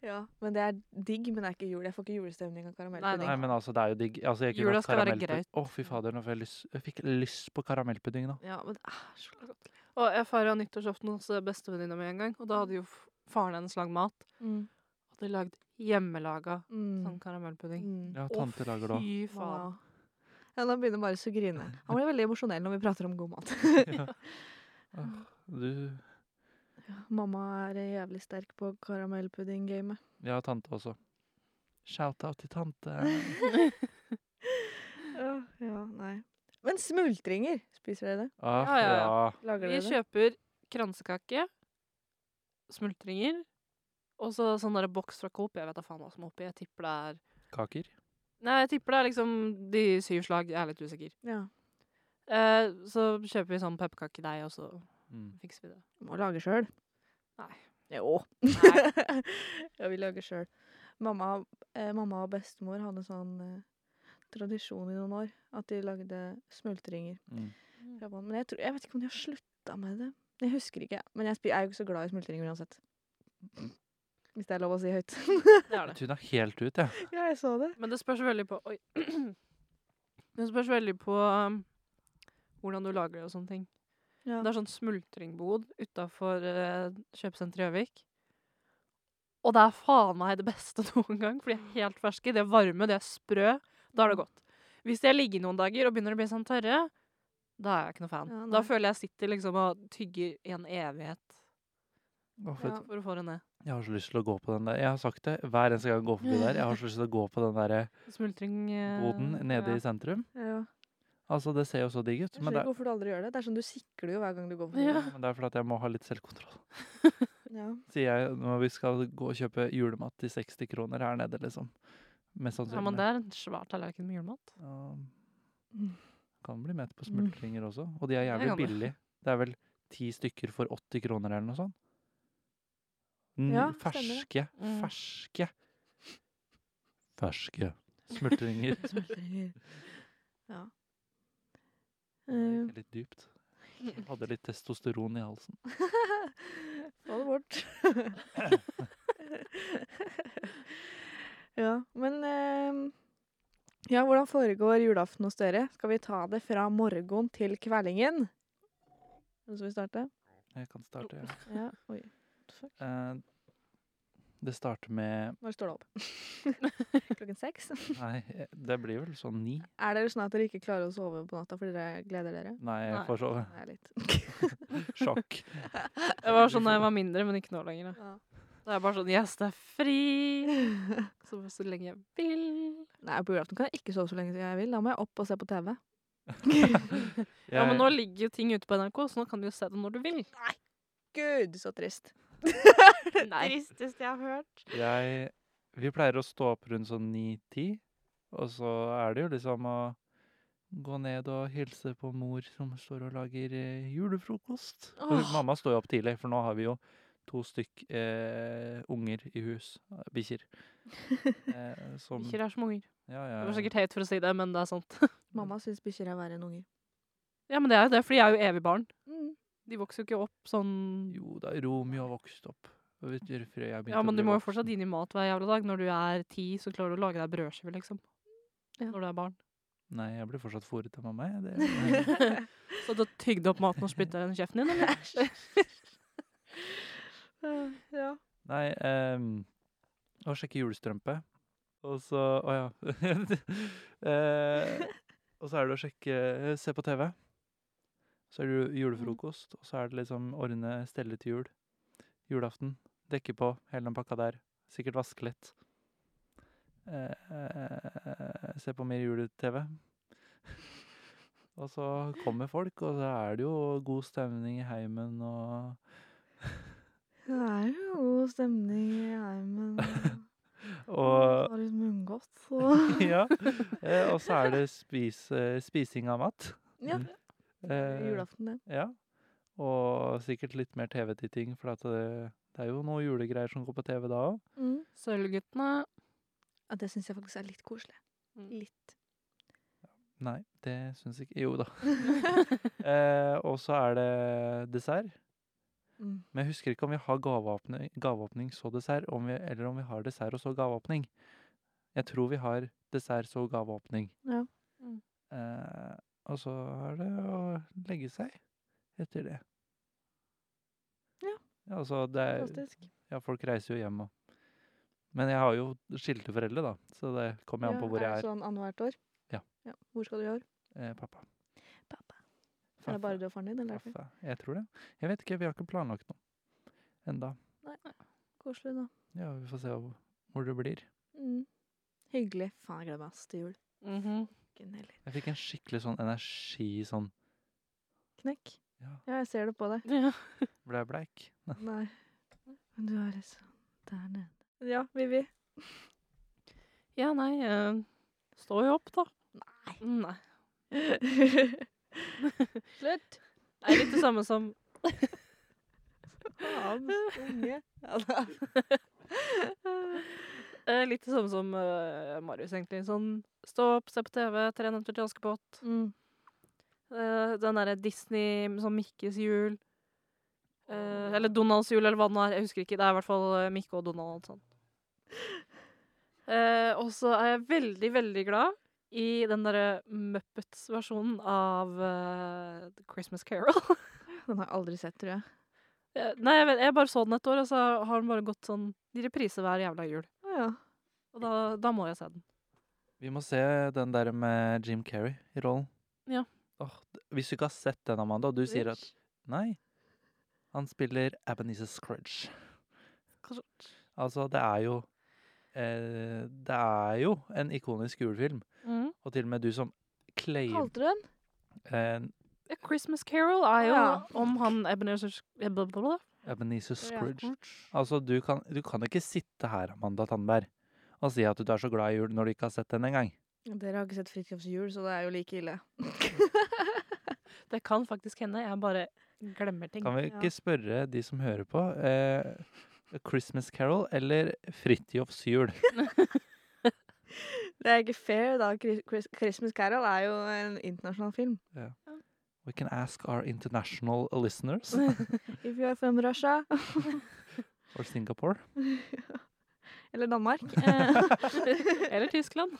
Ja, men det er digg, men det er ikke jul. Jeg får ikke julestemning av karamellpudding.
Nei, men altså, det er jo digg. Altså, jeg kunne
Jula
hatt
skal være
karamellpud-
greit.
Å, fy fader, nå får jeg lyst Jeg fikk lyst på karamellpudding nå.
Ja, men det er så godt.
Og jeg feira nyttårsaften hos eh, bestevenninna mi en gang, og da hadde jo f- faren hennes lagd mat.
Mm.
Hadde lagd hjemmelaga
Mm.
sånn karamellpudding.
Mm.
Ja,
Å,
tante lager det òg.
Fy faen.
Wow. Ja, nå begynner Marius å grine. Han blir veldig emosjonell når vi prater om god mat. [LAUGHS]
Du
Mamma er jævlig sterk på karamellpudding-gamet.
Ja, tante også. Shout-out til
[LAUGHS]
tante.
ja, nei. Men smultringer, spiser dere det?
Ah,
Ja, ja, ja.
ja.
Lager
Vi
dere det?
kjøper kransekake, smultringer, og så sånn der boks fra Coop. Jeg vet da faen hva som er oppi. Jeg tipper det er
Kaker.
Nei, jeg tipper det er liksom de syv slag. Jeg er litt usikker.
Ja.
Eh, så kjøper vi sånn pepperkakedeig, og så
Mm.
fikser vi det.
Må lage sjøl.
Nei.
Jo.
Nei.
[LAUGHS] ja, vi lager sjøl. Mamma, eh, mamma og bestemor hadde sånn eh, tradisjon i noen år at de lagde smultringer.
Mm.
fra bånn. Men jeg, tror, jeg vet ikke om de har slutta med det. Jeg husker ikke. Men jeg spi- er jo ikke så glad i smultringer uansett. Hvis det er lov å si høyt.
Det er det.
Jeg tuna helt ut, jeg.
[LAUGHS] ja, jeg så det.
[LAUGHS] Men det spørs veldig på Oi. [CLEARS THROAT] Det spørs veldig på um, hvordan du lager det og sånne ting.
Ja.
Det er sånn smultringbod utafor eh, kjøpesenteret i Gjøvik. Og det er faen meg det beste [LAUGHS] noen gang, for de er helt ferske. De er varme, de er sprø. Da er det godt. Hvis de har ligget noen dager og begynner å bli sånn tørre, da er jeg ikke noe fan.
Ja,
da
nei.
føler jeg sitter liksom og tygger i en evighet
Å, for-
Ja.
for å få det ned.
Jeg har så lyst til å gå på den der. Jeg har sagt det hver eneste gang jeg går forbi der. Jeg har så lyst til å gå på den der eh, boden
Smultringboden
nede i sentrum.
Ja.
Altså, det ser jo så digg ut,
Jeg
men
skjønner
det,
ikke hvorfor du aldri gjør det. Det er sånn du sikler jo hver gang du går forbi.
Ja.
det. [LAUGHS]
men det er fordi at jeg må ha litt selvkontroll.
Ja.
Sier jeg når vi skal gå og kjøpe julemat til 60 kroner her nede, liksom. Mest
Ja, men
sannsynlig.
det er en svær tallerken med julemat.
Um,
Mm.
Kan bli mett på
Mm.
smultringer også. Og de er
Det
jævlig
kan det.
billige. Det er vel ti stykker for 80 kroner eller noe sånt. Ny,
Ja, stemmer
ferske,
Mm.
ferske Ferske smultringer.
Smultringer. Ja.
Det
Eh.
gikk litt dypt. Jeg Hadde litt testosteron i halsen.
Få det bort. ja, men eh, Ja, hvordan foregår julaften hos dere? Skal vi ta det fra morgen til kveldingen? Nå skal vi starte?
Jeg kan starte. ja.
Ja. Oi. Fuck.
Eh, det starter med
Når står det opp? Klokken [LAUGHS] klokken seks.
Nei, det blir vel sånn ni.
Er dere sånn at dere ikke klarer å sove på natta fordi dere gleder dere?
Nei, jeg
Nei.
får så
Nei, litt.
sjokk.
Det var sånn da jeg var mindre, men ikke nå lenger. da.
Ja.
Da er jeg bare sånn Yes, det er fri! Så, så lenge jeg vil.
[LAUGHS] Nei, på julaften kan jeg ikke sove så lenge jeg vil. Da må jeg opp og se på TV.
[LAUGHS] Ja, men
Jeg-
nå ligger jo ting ute på NRK, så nå kan du jo se det når du
[LAUGHS]
vil.
Gud, så trist.
Nei.
Tristeste jeg har hørt.
Jeg Vi pleier å stå opp rundt sånn 9-10, og så er det jo liksom å gå ned og hilse på mor som står og lager eh, julefrokost. For
Åh.
Mamma står jo opp tidlig, for nå har vi jo to stykk eh, unger i hus. eh,
[LAUGHS]
Bikkjer. Eh, som
Bikkjer er som unger.
Ja, ja.
Det var
ja.
sikkert teit for å si det, men det er sant. [LAUGHS]
Mamma syns bikkjer er verre enn unger.
Ja, men det er jo det, for de er jo evig barn.
Mm.
De vokser jo ikke opp sånn
Jo da, Romeo har vokst opp. Og vet du, Frøya begynte
Ja,
å
men du
bli
må jo
voksen.
fortsatt inn i mat hver jævla dag. Når du er ti, så klarer du å lage deg brødskive, liksom.
Ja.
Når du er barn.
Nei, jeg blir fortsatt fôret av mamma. jeg.
[LAUGHS]
Det,
Så du har tygd opp maten og spytta den i kjeften din, eller?
[LAUGHS] ja.
Nei, ehm, å sjekke julestrømpe. Og så Å ja. [LAUGHS] Eh, og så er det å sjekke Se på TV. Så er det ju- julefrokost, og så er det liksom ordne stelle til jul. Julaften. Dekke på hele den pakka der. Sikkert vaske litt. Eh, eh, se på mer jule-TV. [LAUGHS] og så kommer folk, og så er det jo god stemning i heimen og
[LAUGHS] Det er jo god stemning i heimen.
[LAUGHS] Og
Har litt munngodt, så
[LAUGHS] ja. Eh, og så er det spis, eh, spising av mat.
[LAUGHS] Ja,
Eh,
julaften, det.
Ja. Og sikkert litt mer TV-titting, for at det, det er jo noen julegreier som går på TV da òg.
Mm.
Sølvguttene.
Ja, det syns jeg faktisk er litt koselig.
Mm.
Litt.
Nei, det syns ikke Jo da. Eh, og så er det dessert.
Mm.
Men jeg husker ikke om vi har gaveåpning, gaveåpning så dessert, om vi, eller om vi har dessert og så gaveåpning. Jeg tror vi har dessert så gaveåpning.
Ja.
Mm.
Eh, og så er det å legge seg etter det.
Ja.
Ja, altså det er,
Fantastisk.
ja, folk reiser jo hjem og Men jeg har jo skilte foreldre, da, så det kommer jo an på hvor jeg
det
er.
Sånn annethvert år?
Ja.
Hvor skal du i år?
Eh, pappa.
Pappa. Er det bare du og faren din? eller? er det flere?
Faffa. Jeg tror det. Jeg vet ikke, vi har ikke planlagt noe enda.
Koselig, da.
Ja, vi får se hvor- hvor det blir.
Mm. Hyggelig. Faen, jeg gleder meg ass til jul.
Mhm.
Fucking heller.
Jeg fikk en skikkelig sånn energi sånn
Knekk.
Ja.
Ja, jeg ser det
[LAUGHS]
på deg.
Ja.
Ble jeg bleik? Nei.
[LAUGHS] Nei. Men du er liksom der nede. Ja, Vivi.
ja, nei eh, Stå jo opp, da.
Nei.
Nei.
[LAUGHS] Slutt!
Det er litt det samme som
Faen, unge. Ja, da.
eh, Litt det samme som eh, Marius, egentlig. Sånn stå opp, se på TV, tre nøtter til Askepott.
Mm.
Eh, den derre Disney, sånn Mikkes jul. Eh, eller Donalds jul, eller hva den er. Jeg husker ikke. Det er i hvert fall eh, Mikke og Donald. og alt sånt. Eh, og så er jeg veldig, veldig glad i den derre Muppets-versjonen av eh, The Christmas Carol. [LAUGHS]
Den har jeg aldri sett, tror jeg.
Eh, Nei, jeg, vet, jeg bare så den et år, og så har den bare gått sånn De repriser hver jævla jul.
Å ja.
Og da, da må jeg se den.
Vi må se den der med Jim Carrey i rollen.
Ja.
Åh, d- hvis du ikke har sett den, Amanda, og du sier at Nei. Han spiller Ebenezer Scrudge. Altså, det er jo eh, Det er jo en ikonisk julefilm.
Mm.
Og til og med du som claim
Kalte du den?
eh,
A Christmas Carol er jo
Ja.
om han Ebenezer Sk- eh, blah, blah, blah.
Ebenezer
Ja.
Scrooge. Altså, du kan, du kan ikke sitte her, Amanda Tandberg, og si at du er så glad i jul når du ikke har sett den engang.
Dere har ikke sett Fridtjofs jul, så det er jo like ille.
Det kan faktisk hende. Jeg bare glemmer ting.
Kan vi
Ja.
ikke spørre de som hører på eh, A Christmas Carol eller Fridtjofs jul?
[LAUGHS] Det er ikke fair, da. Chris- Chris- Christmas Carol er jo en internasjonal film.
We can ask our international
[LAUGHS]
listeners
If you are from Russia
or Singapore.
Eller Danmark. [LAUGHS]
Eh,
er
[LAUGHS] Eller Tyskland.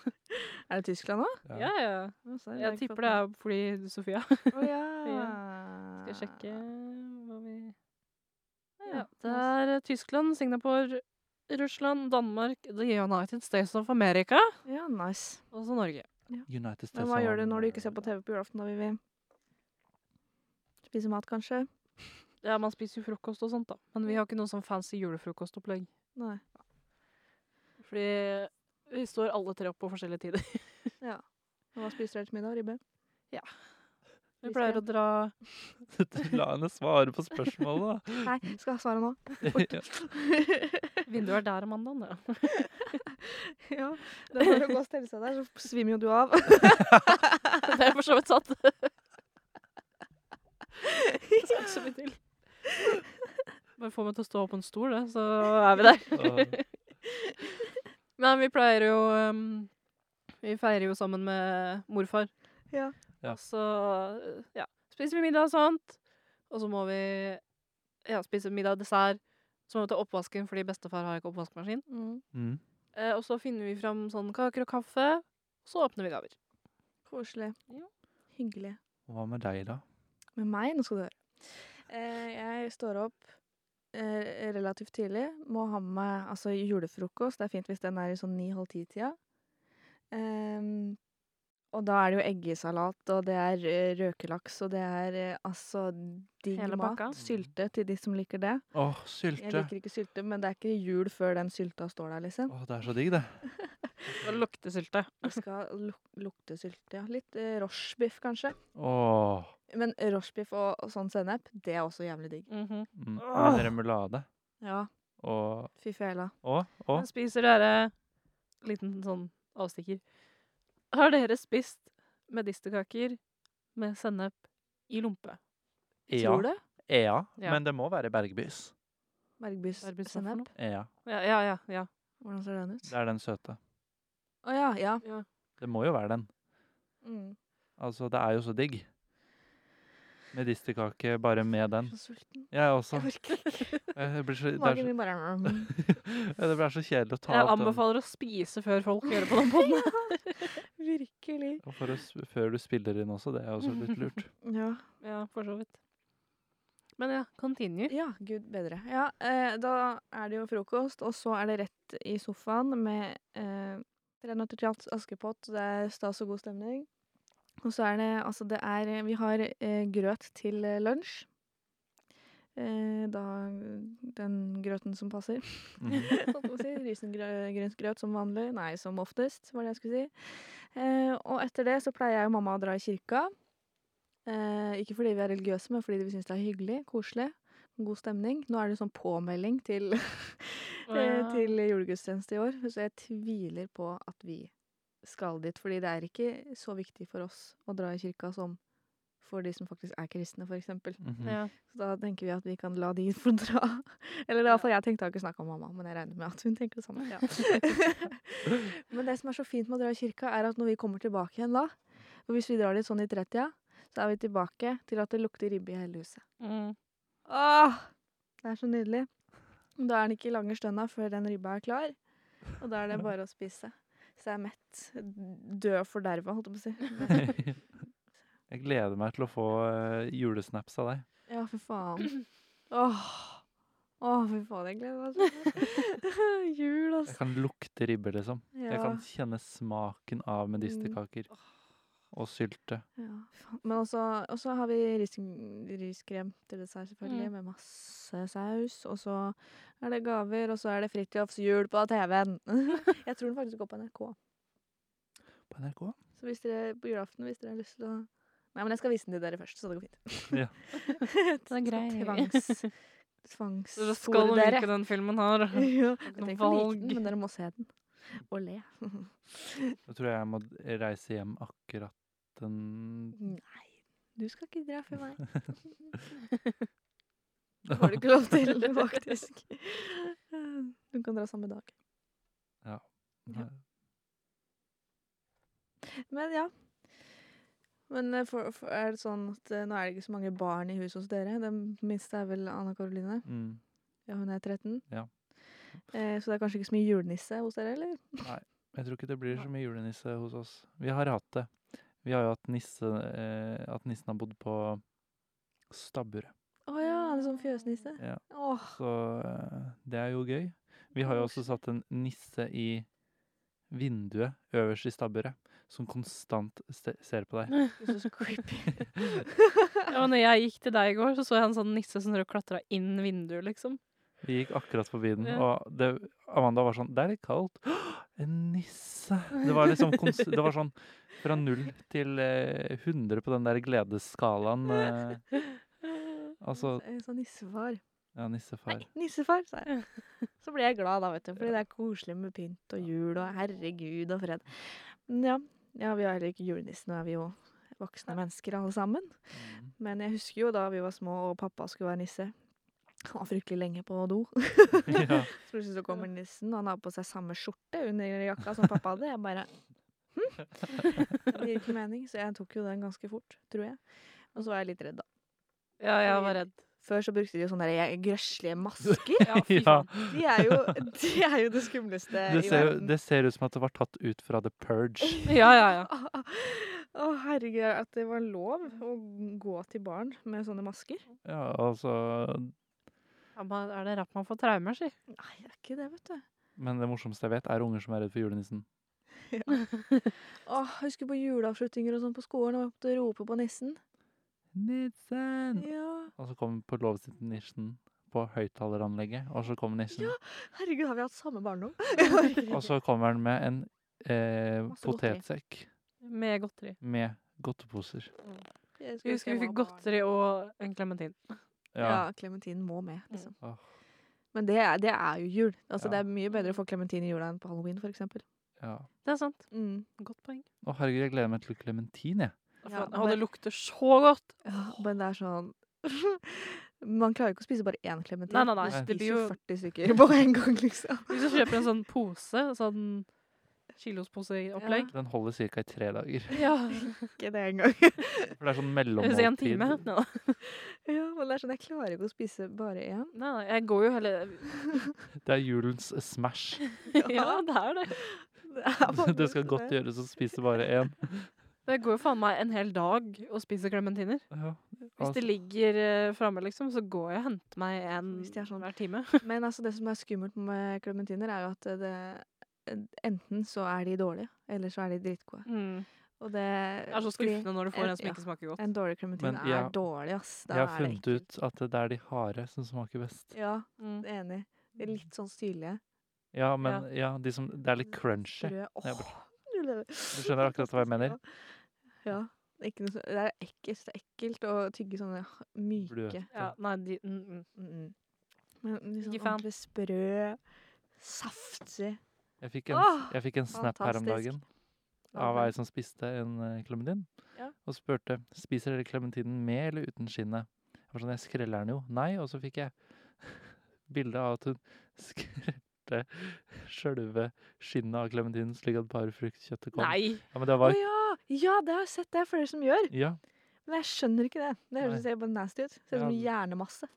det Tyskland òg?
Ja, ja.
Altså,
Jeg tipper det er fordi Sofia
Å ja.
Skal jeg sjekke hva vi Ja, det er Tyskland, eh, Singapore, Russland, Danmark, The United States of America
Ja, nice.
og så Norge.
United States
Men hva
of
gjør du når du ikke
America.
ser på TV på julaften, da, Vivi? Spise mat, kanskje?
Ja, Man spiser jo frokost og sånt, da. Men vi har ikke noe sånn fancy julefrokostopplegg.
Nei.
Fordi vi står alle tre opp på forskjellige tider.
Hva spiser dere til middag? Ribbe?
Vi
Vi
pleier
skal-
å dra
[LAUGHS] La henne svare på spørsmålet,
[LAUGHS]
da.
Nei, skal jeg svare nå?
[LAUGHS]
Vinduet er der om mandagen, ja.
[LAUGHS] ja. Det er bare å gå og stelle seg der, så svimer jo du [LAUGHS] av.
[LAUGHS] Det er for så vidt sant. Det skal ikke så mye til. Bare få meg til å stå på en stol, det, så er vi der.
Åh,
Men vi pleier jo ehm, Vi feirer jo sammen med morfar.
Ja.
Ja.
Og Så eh, ja, spiser vi middag og sånt. Og så må vi ja, spise middag og dessert. Så må vi ta oppvasken fordi bestefar har ikke oppvaskmaskin.
[LAUGHS] Mm,
mm.
Eh, og så finner vi fram sånn kaker og kaffe. Og så åpner vi gaver.
koselig.
Ja.
Hyggelig.
Hva med deg, da?
Med meg? Nå skal du høre. Eh, jeg står opp eh, relativt tidlig. Må ha med meg altså, julefrokost. Det er fint hvis den er i sånn ni-halv ti-tida. Ehm, og da er det jo eggesalat, og det er eh, røkelaks, og det er eh, altså digg
Hele
mat.
pakka.
Sylte til de som liker det.
Åh,
Jeg
sylte.
liker ikke sylte, men det er ikke jul før den sylta står der,
[LAUGHS]
liksom.
Åh, det er så digg, det.
Og luktesylte.
Det skal luk lukte sylte, ja. Litt eh, rochebiff, kanskje.
Åh.
Men rochebiff og, og sånn sennep, det er også jævlig digg.
Mm
Mm.
Åh.
Med remulade.
Ja,
Og
fy fela.
Å, å.
Jeg spiser dere Liten sånn avstikker. Har dere spist medisterkaker med sennep i lompe?
Ea.
Tror du?
Ea.
Ja.
Men det må være Bergbys.
Bergbys
Arbeidssnap
sennep.
for noe?
Ea.
Ja, ja, ja. ja.
Hvordan ser den ut?
Det er den søte.
Å ja, ja.
Det må jo være den.
Mm.
Altså, det er jo så digg. Medisterkake bare med den.
Jeg er så sulten.
Jeg også.
Jeg
[LAUGHS]
orker ikke.
Jeg blir så, det, er
Magen
så,
min bare
[LAUGHS]
mm.
ja, det blir så kjedelig å ta
Jeg
opp den
anbefaler å spise før folk hører på den [LAUGHS] podden.
Virkelig.
Og for å, s- før du spiller inn også. Det er også litt
[LAUGHS]
lurt.
Ja.
Ja, for så vidt. Men ja, continue.
ja, gud bedre. Ja, eh, da er det jo frokost, og så er det rett i sofaen med eh, Tre nøtter til Jas- Askepott. Det er stas og god stemning. Og så er det altså det er eh, Vi har eh, grøt til eh, lunsj. Eh, da den grøten som passer.
Mhm.
[LAUGHS] sånn å si. Risengrynsgrøt som vanlig. Nei, som oftest, var det jeg skulle si. Eh, og etter det så pleier jeg og mamma å dra i kirka. Eh, ikke fordi vi er religiøse, men fordi vi syns det er hyggelig, koselig. God stemning. Nå er det sånn påmelding til, [LAUGHS] eh, til julegudstjeneste i år, så jeg tviler på at vi skal dit. Fordi det er ikke så viktig for oss å dra i kirka som for de som faktisk er kristne, f.eks.
Mhm.
ja.
Så da tenker vi at vi kan la de få dra. [LAUGHS] Eller iallfall jeg tenkte jeg har ikke snakka om mamma, men jeg regner med at hun tenker det samme. [LAUGHS] men det som er så fint med å dra i kirka, er at når vi kommer tilbake igjen da, og hvis vi drar dit sånn i 30-tida, så er vi tilbake til at det lukter ribbe i hele huset.
Mm.
Åh, det er så nydelig. Da er det ikke lange stønna før den ribba er klar, og da er det bare å spise. Så jeg er mett. Død og forderva, holdt jeg på å si.
[LAUGHS] Jeg gleder meg til å få eh, julesnaps av deg.
Ja, fy faen. Åh, Åh, fy faen, jeg gleder meg sånn. [LAUGHS] Jul,
Jeg
altså.
kan lukte ribbe, liksom. Jeg
Ja. Mm.
kan kjenne smaken av medisterkaker. Og sylte.
Ja, faen. Men også, og så har vi rising- riskrem til dessert, selvfølgelig,
Mm.
med masse saus. Og så er det gaver, og så er det Fridtjofs jul på TV-en. [LAUGHS] jeg tror den faktisk går på NRK.
På NRK?
Så hvis dere på julaften hvis dere har lyst til å Nei, men jeg skal vise den til dere først, så det går fint. [LAUGHS]
Ja.
Skal
grei. [LAUGHS]
Tvangs.
Så da skal
Tvangsfôre
du
dere.
like den filmen [LAUGHS] her.
[LAUGHS] ja, jeg
noe
trenger ikke å like
valg.
den, men dere må se den. [LAUGHS] Og le.
Da tror jeg jeg må d- reise hjem akkurat den
Nei, du skal ikke dra for meg. [LAUGHS] Det har du ikke lov til, [LAUGHS] faktisk. Du kan dra samme dag. Ja. Men ja. Men eh, for, for, er det sånn at eh, nå er det ikke så mange barn i huset hos dere? Den minste er vel Anna Karoline?
Mm.
Ja, hun er 13.
Ja.
Eh, så det er kanskje ikke så mye julenisse hos dere, eller?
Jeg tror ikke det blir så mye julenisse hos oss. Vi har hatt det. Vi har jo hatt nisse eh, At nissen har bodd på stabburet.
Å ja, han er sånn fjøsnisse.
Ja.
Åh,
Så eh, det er jo gøy. Vi har jo også satt en nisse i vinduet øverst i stabburet, som konstant ste- ser på deg. [LAUGHS]
Gud, så creepy.
Ja, når jeg gikk til deg i går, så så jeg en sånn nisse som klatra inn vinduet, liksom.
Vi gikk akkurat forbi den,
Ja.
og det, Amanda var sånn Det er litt kaldt. [GASPS] En nisse! Det var liksom kons det var sånn fra null til eh, 100 på den der gledesskalaen. Eh, altså
[LAUGHS] Så- Så nissefar.
Ja, nissefar.
Nei, nissefar, sa jeg. [LAUGHS] Så ble jeg glad da, vet du. Fordi det er koselig med pynt og jul og herregud og fred. Men ja, ja vi har heller ikke julenissen, nå er vi jo voksne mennesker alle sammen.
Mm.
Men jeg husker jo da vi var små og pappa skulle være nisse. Han var fryktelig lenge på do.
[LAUGHS]
[LAUGHS]
Ja.
Så plutselig så kommer nissen, og han har på seg samme skjorte under jakka som pappa hadde. Jeg bare hm? Det gir ikke mening, så jeg tok jo den ganske fort, tror jeg. Og så var jeg litt redd, da.
Ja, jeg var redd.
Før så brukte de jo sånne der grøslige masker.
Ja, fy
[LAUGHS] Ja.
faen.
De er jo, de er jo det skumleste
Det
i
ser, jo-
verden.
det ser ut som at det var tatt ut fra The
[LAUGHS]
Purge.
Ja, ja, ja.
Å, herregud, at det var lov å gå til barn med sånne masker.
Ja, altså
Ja, men Er det rart man får traumer, si?
Nei, det er ikke det, vet du.
Men det morsomste jeg vet, er unger som er redd for julenissen.
Åh, jeg husker på juleavslutninger og sånn på skolen, og jeg måtte rope på nissen.
Nissen!
Ja,
Og så kom på lovsitten nissen på høyttaleranlegget, og så kommer nissen.
herregud, har vi hatt samme
[LAUGHS]
barndom?
Og så kommer han med en eh,
Masse godteri.
potetsekk
Med godteri.
med godteposer.
Jeg husker vi fikk godteri og en klementin.
Ja.
Ja, klementin må med, liksom.
Åh.
Men det er, det er jo jul. Altså, Det
Ja.
er mye bedre å få klementin i jula enn på halloween, for eksempel.
ja.
Det er sant.
Mm.
Godt poeng.
Å, herregud, jeg gleder meg til klementin, jeg.
Ja,
og det
men-
lukter så godt.
Men det er sånn [LAUGHS] Man klarer jo ikke å spise bare én klementin.
Nei, nei, nei.
Du
Det
spiser
blir
jo
jo-
40 stykker på en gang, [LAUGHS] liksom.
Hvis du kjøper en sånn pose, sånn kilosposeopplegg
Den holder ca. i tre dager.
[LAUGHS] Ja.
Ikke det
[LAUGHS]
engang.
For det er
[LAUGHS]
sånn
Hvis en
mellommåltid.
time. Nei, da.
ja, men det er sånn, jeg klarer ikke å spise bare én.
nei, nei, jeg går jo [LAUGHS] heller
Det er julens
[LAUGHS]
smash.
Ja, det er [LAUGHS] det.
Det er
[LAUGHS] Det
faktisk
skal godt gjøres å spise bare én.
Det går jo faen meg en hel dag å spise klementiner.
Ja.
Hvis
Altså,
det ligger eh, framme, liksom, så går jeg og henter meg en
Hvis de er sånn-
hver time.
Men altså, det som er skummelt med klementiner, er jo at det, enten så er de dårlige, eller så er de dritgode. Og det
Mm. Det er så
fordi
skuffende når du får en som
ja.
ikke smaker godt.
En dårlig klementin
Men
er
jeg-
dårlig, ass. Da
jeg har
er det
funnet
ekkelt.
ut at det er de harde som smaker best.
Ja,
Mm.
enig. De litt sånn syrlige.
Ja, men ja, de som, det er litt crunchy.
Brød. Åh! du
Ja, skjønner akkurat hva jeg mener.
Ja. Ikke noe, så- det er ekkelt, det er ekkelt å tygge sånne h- myke
Bløte.
Ja, nei, de, mm, mm.
mm. mm. Men liksom
Ikke fan.
ordentlig sprø, saftig
Jeg fikk en,
Åh,
jeg fikk en snap her om
fantastisk.
dagen av ei som spiste en eh, klementin.
Ja.
Og spurte spiser dere klementinen med eller uten skinnet. Jeg var sånn, jeg skreller den jo. Nei, og så fikk jeg [LAUGHS] bilde av at hun [LAUGHS] skrelte sjølve skinnet av klementinen slik at bare fruktkjøttet kom.
Nei!
Ja, men det
Å
var
ja! Ja, det har jeg sett. Det er flere som gjør.
Ja.
Men jeg skjønner ikke det. Det
Nei.
høres ser bare nasty ut. Ser ut som
Ja. [LAUGHS]
hjernemasse.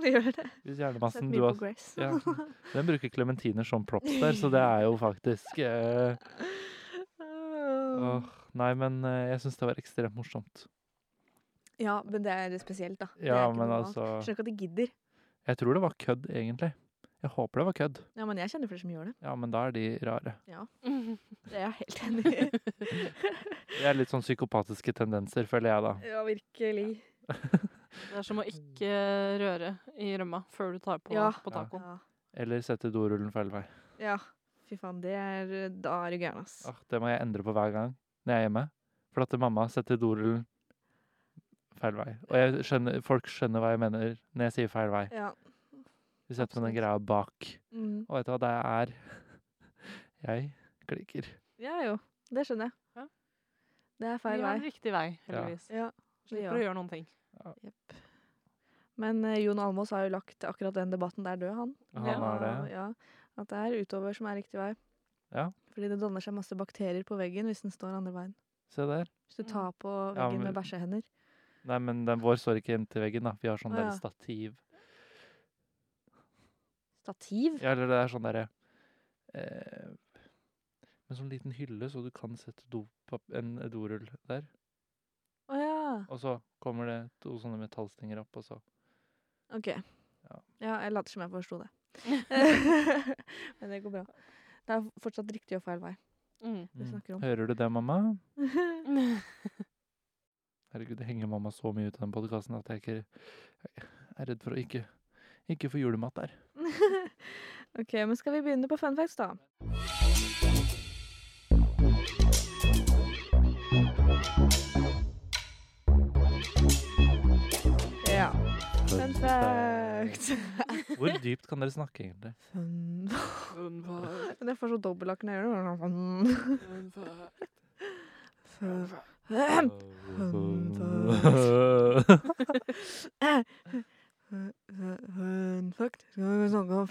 Det gjør det.
Hvis
Sett
hjernemassen du
mye på
har
Grace. [LAUGHS]
ja, Den bruker klementiner som props der, så det er jo faktisk eh, åh, Nei, men eh, jeg syns det var ekstremt morsomt.
Ja, men det er spesielt, da. Det
Ja,
er ikke
men
normalt.
altså
Skjønner ikke at de gidder.
Jeg tror det var kødd, egentlig. Jeg håper det var kødd.
Ja, men jeg kjenner flere som gjør det.
Ja, men da er de rare. [LAUGHS]
Det er jeg helt enig i.
Det er litt sånn psykopatiske tendenser, føler jeg da.
[LAUGHS] Ja, virkelig.
Det er som å
Mm.
ikke røre i rømma før du tar på,
Ja.
på tacoen.
Ja.
Eller sette dorullen feil vei.
ja. Fy faen, det er Da er du gæren, ass.
Ah, det må jeg endre på hver gang når jeg er hjemme. For at mamma setter dorullen feil vei. Og jeg skjønner, folk skjønner hva jeg mener når jeg sier feil vei.
Ja.
De setter den
absolutt.
greia bak.
Mm.
Og vet du hva det er? [LAUGHS] Jeg klikker.
ja jo. Det skjønner jeg.
Ja.
Det er
Vi
feil
har
vei.
en riktig vei,
Ja.
heldigvis.
Ja. det
Slipper
gjør.
å gjøre noen ting.
Men eh, Jon Almaas har jo lagt akkurat den debatten der død, han.
Han
Ja.
har det.
Og, Ja, at det er utover som er riktig vei.
Ja.
Fordi det danner seg masse bakterier på veggen hvis den står andre veien.
Se der.
Hvis
Mm.
du tar på
Ja,
veggen
men-
med bæsjehender.
Nei, men den vår står ikke inntil veggen, da. Vi har sånn
Å,
der
ja.
stativ.
Stativ?
Ja, eller det er sånn derre eh, Med sånn liten hylle, så du kan sette dopap, en dorull der.
Å ja.
Og så kommer det to sånne metallstenger opp, og så
OK.
Ja.
[LAUGHS] Ja, jeg later som jeg forsto det. Men det går bra. Det er fortsatt riktig og feil vei vi
Mm.
snakker om.
Hører du det, mamma?
Mm.
Herregud, det henger mamma så mye ut i den podkasten at jeg ikke jeg er redd for å ikke, ikke få julemat der.
[LAUGHS] OK, men skal vi begynne på fun facts, da? Ja. Fun facts.
[LAUGHS] Hvor dypt kan dere snakke, egentlig?
Fun
Fun fact,
Men jeg får så dobbeltlakk når jeg gjør det. Fun-
fun fact.
fun- Ahem. Fun fact. Skal vi snakke om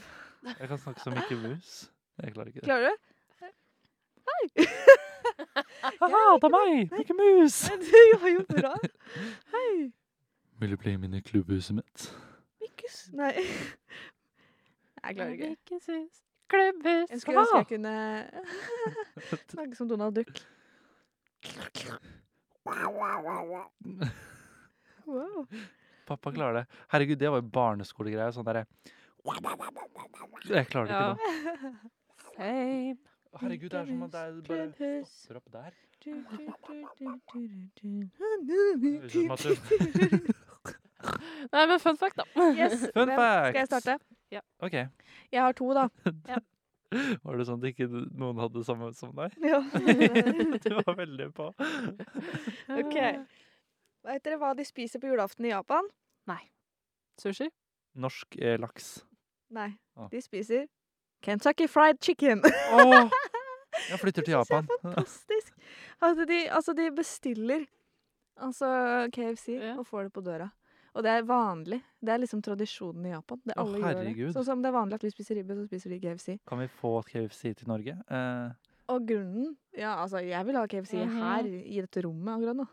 Jeg kan snakke som Mikke Mus. Jeg klarer ikke det.
Klarer du?
Haha, ta meg! Mikke Mus!
[LAUGHS] Du var jo bra. Hei.
Vil du bli med inn i klubbhuset mitt?
Mikkus. Nei. [LAUGHS] Jeg klarer ikke.
Mikkeshus, klubbhus.
Jeg skulle ønske
Ah,
jeg kunne [LAUGHS] snakke som Donald Duck. Wow.
Pappa klarer det. Herregud, det var jo barneskolegreier. Sånn derre Jeg klarer det
Ja.
ikke nå.
[LAUGHS] Same.
Herregud, det er som at det er bare
Klubbhus.
stopper opp der.
Du, du, du, du, du, du,
Det høres ut som
du.
at du-
Nei, men fun fact, da.
[LAUGHS]
[LAUGHS]
Yes.
Fun
men
fact.
Skal jeg starte?
OK.
Jeg har to, da.
Var det sånn at ikke noen hadde det samme som
[LAUGHS]
deg?
[LAUGHS]
[LAUGHS]
Ja.
du var veldig på.
Ok. Vet dere hva de spiser på julaften i Japan?
Sushi.
Norsk eh, laks.
Nei,
Ah.
de spiser Kentucky Fried Chicken. [LAUGHS]
Åh! Jeg flytter
Det synes jeg
til
er
Japan.
Fantastisk. Altså de, altså, de bestiller altså KFC
Ja.
og får det på døra. Og det er vanlig. Det er liksom tradisjonen i Japan. Det
Å,
alle gjør det.
herregud.
Sånn som det er vanlig at vi spiser ribbe, så spiser de KFC.
Kan vi få KFC til Norge? Eh,
Og grunnen Ja, altså, jeg vil ha KFC
Mhm.
her, i dette rommet akkurat
[LAUGHS]
nå.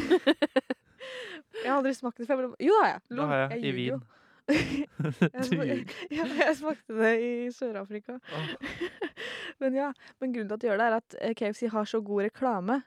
jeg har aldri smakt det før. jeg ble- Jo, det har jeg.
det har jeg. I
ljuger jo.
Wien.
[LAUGHS]
[LAUGHS]
Jeg
du
smak-
ljuger.
[LAUGHS] ja, jeg smakte det i Sør-Afrika.
Åh.
Men ja, men grunnen til at de gjør det, er at eh, KFC har så god reklame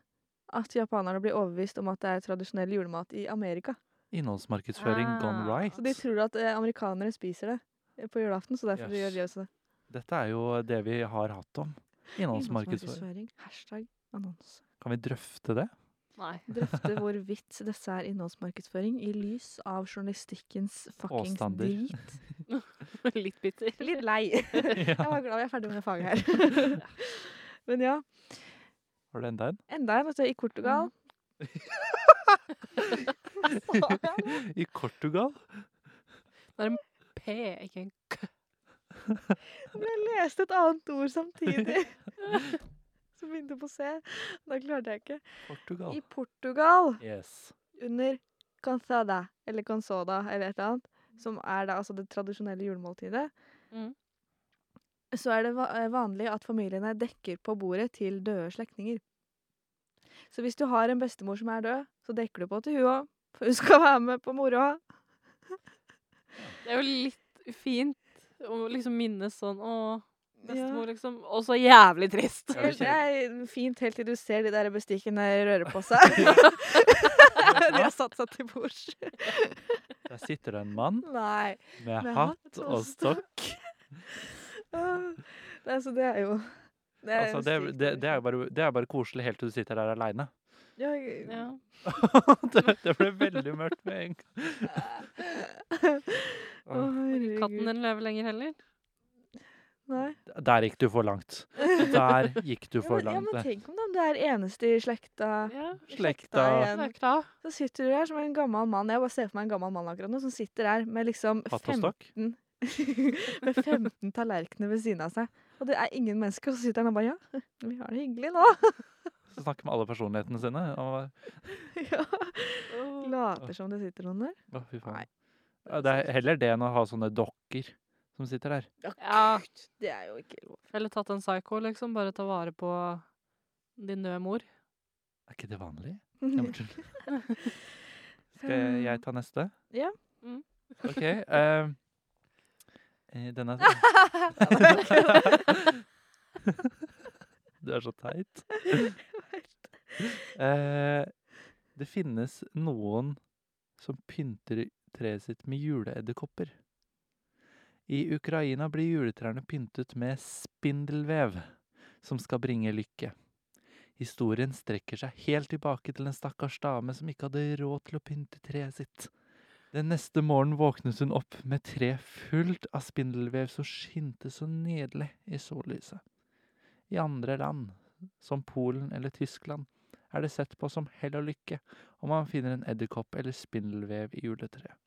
at japanerne blir overbevist om at det er tradisjonell julemat i Amerika.
Innholdsmarkedsføring gone
Ah.
right.
Så de tror at eh, amerikanere spiser det eh, på julaften, så derfor
Jøss.
gjør de også det.
Dette er jo det vi har hatt om. Innholdsmarkedsføring.
Innholdsmarkedsføring. Hashtag annonse.
Kan vi drøfte det?
[LAUGHS]
[LAUGHS]
Nei. [LAUGHS]
Drøfte hvorvidt disse er innholdsmarkedsføring i lys av journalistikkens fuckings
Påstander.
drit.
Litt bitter.
Litt lei. [LAUGHS] Jeg
Ja.
var glad vi er ferdig med det faget her. Men ja,
Har du enda en?
enda en, vet du, i Portugal.
[LAUGHS] I Portugal?
[LAUGHS] P, ikke en K.
Men jeg leste et annet ord samtidig. Som begynte på C. Da klarte jeg ikke.
Portugal.
I Portugal,
Yes.
under cansada, eller consoda, eller et eller annet, som er da altså det tradisjonelle julemåltidet,
Mm.
så er det va- eh, vanlig at familiene dekker på bordet til døde slektninger. Så hvis du har en bestemor som er død, så dekker du på til hun òg, for hun skal være med på moroa.
Det er jo litt fint å liksom minnes sånn Å,
Ja.
bestemor, liksom. Og så jævlig trist.
Ja, det er
Helt- Det er fint helt til du ser de der bestikkene røre på
[LAUGHS]
seg. [LAUGHS] de har satt seg til bords.
Der sitter det en mann
Nei.
med hatt og stokk.
Ah, Nei, så det er jo Det
Altså, det,
sykt
det, det, er jo bare, det er bare koselig helt til du sitter der aleine.
Ja, jeg-
[LAUGHS] Ja.
[LAUGHS] det, det ble veldig mørkt med en gang.
[LAUGHS] Å, herregud.
Katten din lever lenger heller.
Nei.
Der gikk du for langt. Der gikk du
Ja,
for
men, ja,
langt. eh.
men tenk om de er eneste i slekta.
Ja.
Slekta
igjen.
Det er klart.
Så sitter du der som en gammel mann. Jeg bare ser for meg en gammel mann akkurat nå som sitter der med liksom
hatt og
15,
stokk.
[LAUGHS] med 15 tallerkener ved siden av seg. Og det er ingen mennesker, og så sitter han og bare Ja, [LAUGHS] vi har det hyggelig nå. [LAUGHS]
Så snakker med alle personlighetene sine. Og,
ja. Later som det sitter noen der.
å, fy faen.
Nei. altså.
Ja, Det er heller det enn å ha sånne dokker som sitter der.
Ja.
Det er jo ikke lov.
Eller tatt en psycho, liksom. Bare ta vare på din døde mor.
Er ikke det vanlig?
[LAUGHS]
Jeg bare tuller. Skal jeg, jeg ta neste?
Ja.
Mm.
OK. eh, eh, denne [LAUGHS] Du er så teit. Eh, det finnes noen som pynter treet sitt med juleedderkopper. I Ukraina blir juletrærne pyntet med spindelvev, som skal bringe lykke. Historien strekker seg helt tilbake til en stakkars dame som ikke hadde råd til å pynte treet sitt. Den neste morgenen våknet hun opp med tre fullt av spindelvev som skinte så nydelig i sollyset. I andre land, som Polen eller Tyskland, er det sett på som hell og lykke om man finner en edderkopp eller spindelvev i juletreet.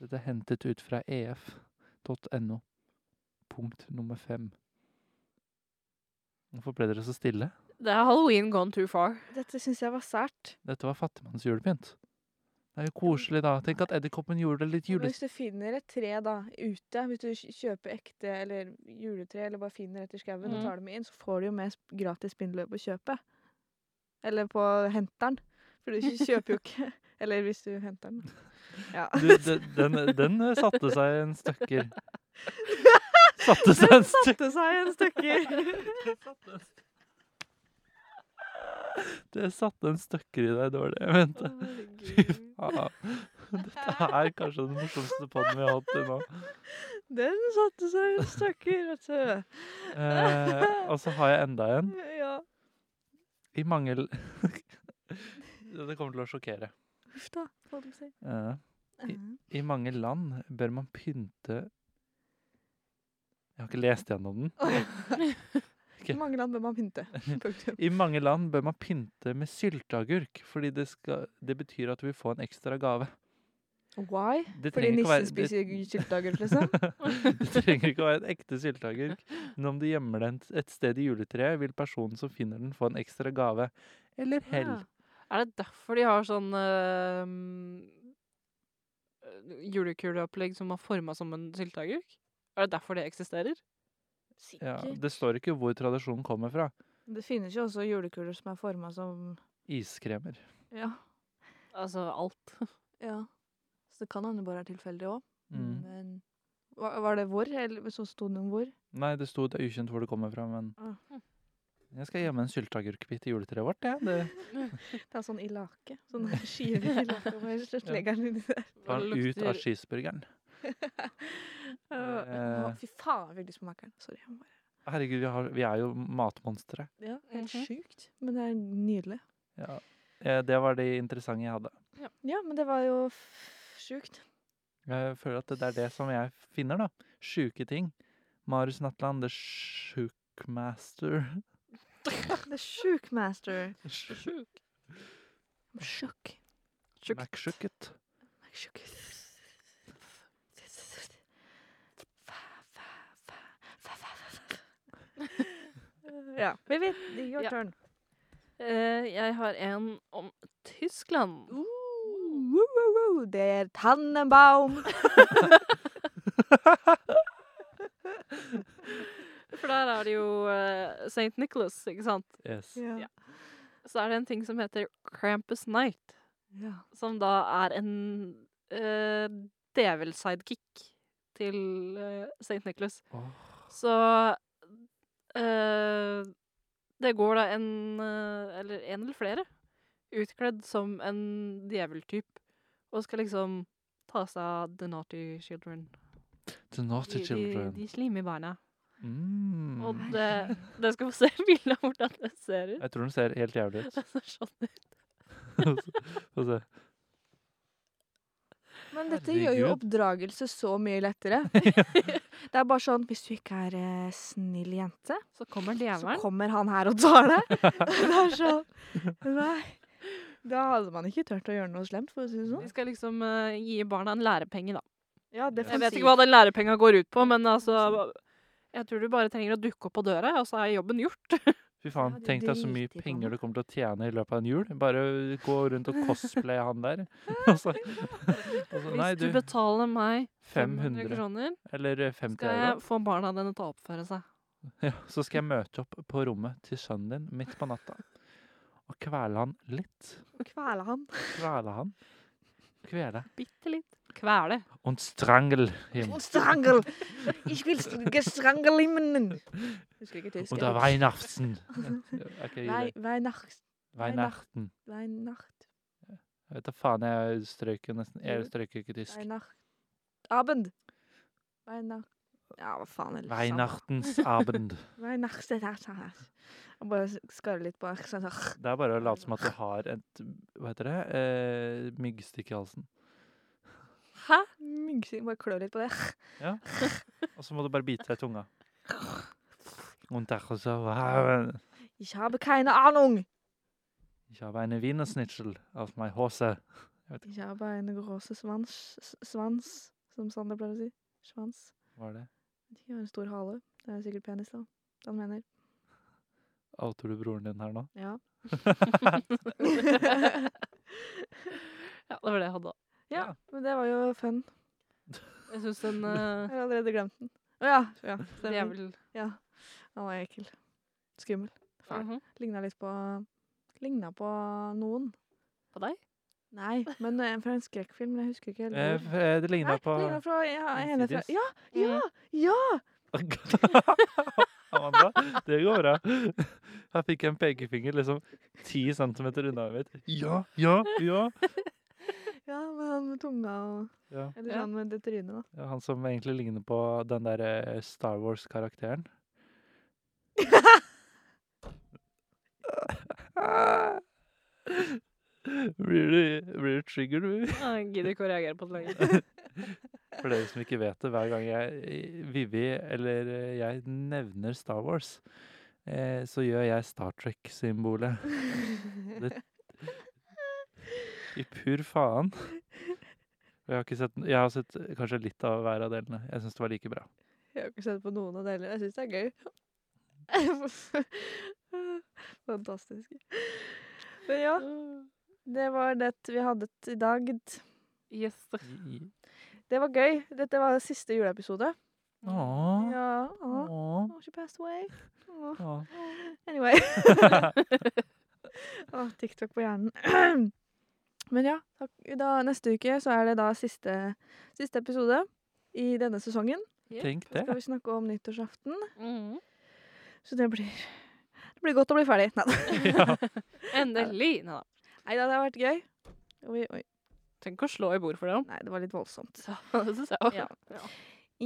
Dette er hentet ut fra E ef.no, punkt nummer fem. Hvorfor ble dere så stille?
Det er halloween gone too far.
Dette syns jeg var sært.
Dette var fattigmannsjulepynt. Det er jo koselig, da. Tenk at edderkoppen gjorde det litt
Men
jule...
Hvis du finner et tre da, ute, hvis du kj- kjøper ekte eller juletre, eller bare finner et i skauen
Mhm.
og
Mm.
tar det med inn, så får du jo med sp- gratis spindelvev på kjøpet. Eller på henteren. For du kj- kjøper jo ikke [LAUGHS] Eller hvis du henter den. Ja.
[LAUGHS] Du,
[LAUGHS]
den, den, den eh, satte seg en støkker. Satte seg en støkker.
Det sa jeg en
[LAUGHS]
støkker.
Det satte en støkker i deg dårlig. Jeg mente. Ja, dette er kanskje den morsomste podden vi har hatt til nå.
Den satte seg en støkker, vet du.
Eh, og så har jeg enda en.
Ja.
I mangel [LAUGHS] Det kommer til å sjokkere.
Uff da, hva du sier.
Eh, I mange land bør man pynte Jeg har ikke lest gjennom den.
I mange land bør man pynte.
[LAUGHS]
Punktum.
I mange land bør man pynte med sylteagurk, fordi det, skal, det betyr at du vil få en ekstra gave.
Why?
Det
Fordi
trenger ikke å være-
nissen spiser sylteagurk, liksom?
[LAUGHS] Det trenger ikke å være en ekte sylteagurk, men om du gjemmer den t- et sted i juletreet, vil personen som finner den, få en ekstra gave.
Ah,
Eller hell.
Ja. Er det derfor de har sånn eh, julekuleopplegg som er forma som en sylteagurk? Er det derfor det eksisterer?
Ja,
Sikkert.
det står ikke hvor tradisjonen kommer fra.
Det finnes jo også julekuler som er forma som
Iskremer.
ja.
Altså alt.
ja. Så det kan hende det bare er tilfeldig òg.
Mm.
Men var, var det hvor? Eller så sto det om hvor?
Nei, det sto det er ukjent hvor det kommer fra, men
Ah.
Jeg skal gjemme en sylteagurkbit i juletreet vårt, jeg. Det
Det er sånn i lake. Sånn skive i lake. og bare
[LAUGHS]
slett legger den inni der.
tar
Det
den ut av
lukter-
cheeseburgeren.
Åh,
Eh.
Fy faen, jeg fikk lyst på makkeren. Sorry. jeg må bare-
Herregud, vi, har, vi er jo matmonstre.
Ja, helt
Mhm.
sjukt. Men det er nydelig.
Ja. Eh, Det var det interessante jeg hadde.
Ja, men det var jo f- sjukt.
Jeg føler at det er det som jeg finner, da. Sjuke ting. Marius Natland, The Sjukmaster.
The Sjukmaster.
Sjukt.
I'm shook.
Sjukt.
Macsjukket.
I'm shook. Fa, fa, fa, fa, fa, fa, fa. [LAUGHS] Ja. Vivi, your
Ja.
turn.
Eh, jeg har en om Tyskland.
Woo, woo, woo. Det er Tannenbaum.
For der er det jo eh, St. Nicholas, ikke sant?
Yes.
Ja.
Så er det en ting som heter Krampus Night, som da er en uh, devil-sidekick til eh, St. Nicholas.
Åh.
Så eh, det går da en eh, eller en eller flere utkledd som en djeveltyp og skal liksom ta seg av the naughty children.
The Naughty
De, de,
Children.
de slime barna. Og
Mm.
det, det skal få se [LAUGHS] bilde av hvordan det ser ut.
[LAUGHS]
[LAUGHS]
Jeg tror den ser helt jævlig ut.
Det ser sånn ut.
Få se.
Men dette gjør jo
Herregud.
oppdragelse så mye lettere. Det er bare sånn Hvis du ikke er eh, snill jente,
Så kommer
så
djevelen.
kommer han her og tar deg. Det er sånn Nei. Da hadde man ikke turt å gjøre noe slemt, for å si det sånn.
De skal liksom eh, gi barna en lærepenge, da.
Ja, det
Jeg vet ikke hva den lærepenga går ut på, men altså Jeg tror du bare trenger å dukke opp på døra, og så er jobben gjort.
Fy faen,
Ja, de
tenk deg så mye
driter i
penger
barna.
du kommer til å tjene i løpet av en jul. Bare gå
[LAUGHS]
rundt og cosplaye han der. Og så, og så, nei,
Hvis
du,
du betaler meg 500
500
kroner,
eller eh, 50
skal jeg
euro.
få barna dine til å oppføre seg.
Ja, så skal jeg møte opp på rommet til sønnen din midt på natta og kvele han litt.
Kvele han.
Kvele han. Kvele.
Bitte litt. Kvele.
Und strangel him.
Und strangel! Ich will st- gestrangel himmen! Husker ikke tysk.
Under
[LAUGHS]
Weihnachtsen. Er ikke
Nei,
jul.
Weihnacht.
Weihnachten.
Weihnacht.
Jeg vet da faen, jeg strøyker nesten Jeg
Jul.
strøyker ikke tysk.
Weihnacht. Abend. Weihnacht... Ja, hva faen er det?
Weihnachtens
[LAUGHS]
abend.
Weihnachtsetasjas. Og bare skarre litt på sånn, så-
Det er bare å late som at du har et Hva heter det? Eh, myggstykke i halsen.
Hæ?
Myggsyn, bare klø litt på det.
[LAUGHS]
Og så må du bare bite deg i tunga. Und der og så wow.
Ich habe keine Ahnung!
Ich habe eine Wienersnitzel auf my hose.
Ich habe eine große Svans, s- svans som Sander pleier å si. Svans.
Var det?
De har en stor hale. Det er sikkert penis, da. Han mener.
Outer du broren din her nå?
Ja. [LAUGHS]
Ja, det var det jeg hadde.
ja. Men det var jo fun.
Jeg syns den
Jeg
[LAUGHS] eh,
har allerede glemt den. Å ja. ja stemmer.
jævel
Ja. Han var ekkel. Skummel. Fæl.
Mhm.
Ligna litt på Ligna på noen.
På deg?
Nei, men eh, fra en skrekkfilm. men Jeg husker ikke helt.
Eh,
hvor.
f- eh, det ligna
Nei,
på
ligna fra ja, ene fra
Insidious.
Ja! Ja! ja.
[LAUGHS] Amanda, det går bra. Her fikk jeg en pekefinger liksom ti centimeter unna øyet mitt. Ja, ja, ja.
ja med han med tunga og
ja.
Eller
Ja.
sånn med det trynet, da.
Ja, Han som egentlig ligner på den der eh, Star Wars-karakteren. [LAUGHS] Blir du, blir du trigger, du?
Jeg gidder ikke å reagere på det lenger.
For dere som ikke vet det, hver gang jeg, Vivi eller eh, jeg nevner Star Wars, eh, så gjør jeg Star Trek-symbolet. Det- I pur faen. Og Jeg har, ikke sett, jeg har sett kanskje litt av hver av delene. Jeg syns det var like bra.
Jeg har ikke sett på noen av delene. Jeg syns det er gøy. [LAUGHS] Fantastisk. Men ja, det var det vi hadde t- i dag.
[LAUGHS] Yes.
I-
Det var gøy. Dette var siste juleepisode.
Åh.
Ja. ah.
Åh.
Oh, she passed away. Åh.
Åh. [LAUGHS]
Anyway. Åh, TikTok på hjernen. Men ja, takk. Da, neste uke så er det da siste, siste episode i denne sesongen.
Tenk
Så
det.
skal vi snakke om nyttårsaften.
Mhm.
Så det blir, det blir godt å bli ferdig. Nei
[LAUGHS] Ja.
Endelig. Nei da.
da, det har vært gøy. Oi, oi.
Tenk å slå i bord for det.
Nei, det var litt voldsomt.
[LAUGHS]
da. Det synes jeg også.
Ja.
Ja.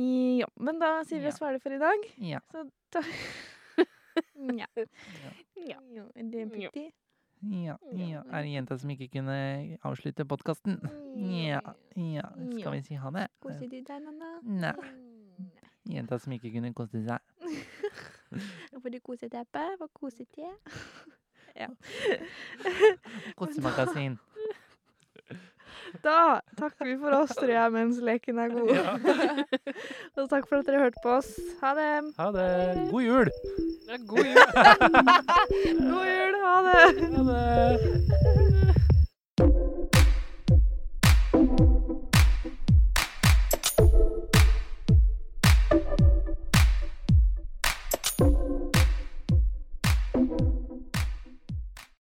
I, ja. Men da sier vi oss ferdig for i dag.
Ja.
Så
[LAUGHS]
da Nja.
Ja.
Jo, Det er
Ja.
bitte.
Ja, ja. Er det jenta som ikke kunne avslutte podkasten? Ja, ja. Skal vi si ha det?
Koser du deg, Nanna?
Nei.
Mm.
Jenta som ikke kunne koste seg.
Får du koseteppe? Får kosete?
Kosemagasin.
Da takker vi for oss, tror jeg, mens leken er god. [LAUGHS] Og takk for at dere hørte på oss. Ha det.
Ha det. God jul!
Det er god jul.
God jul. Ha det.
Ha det.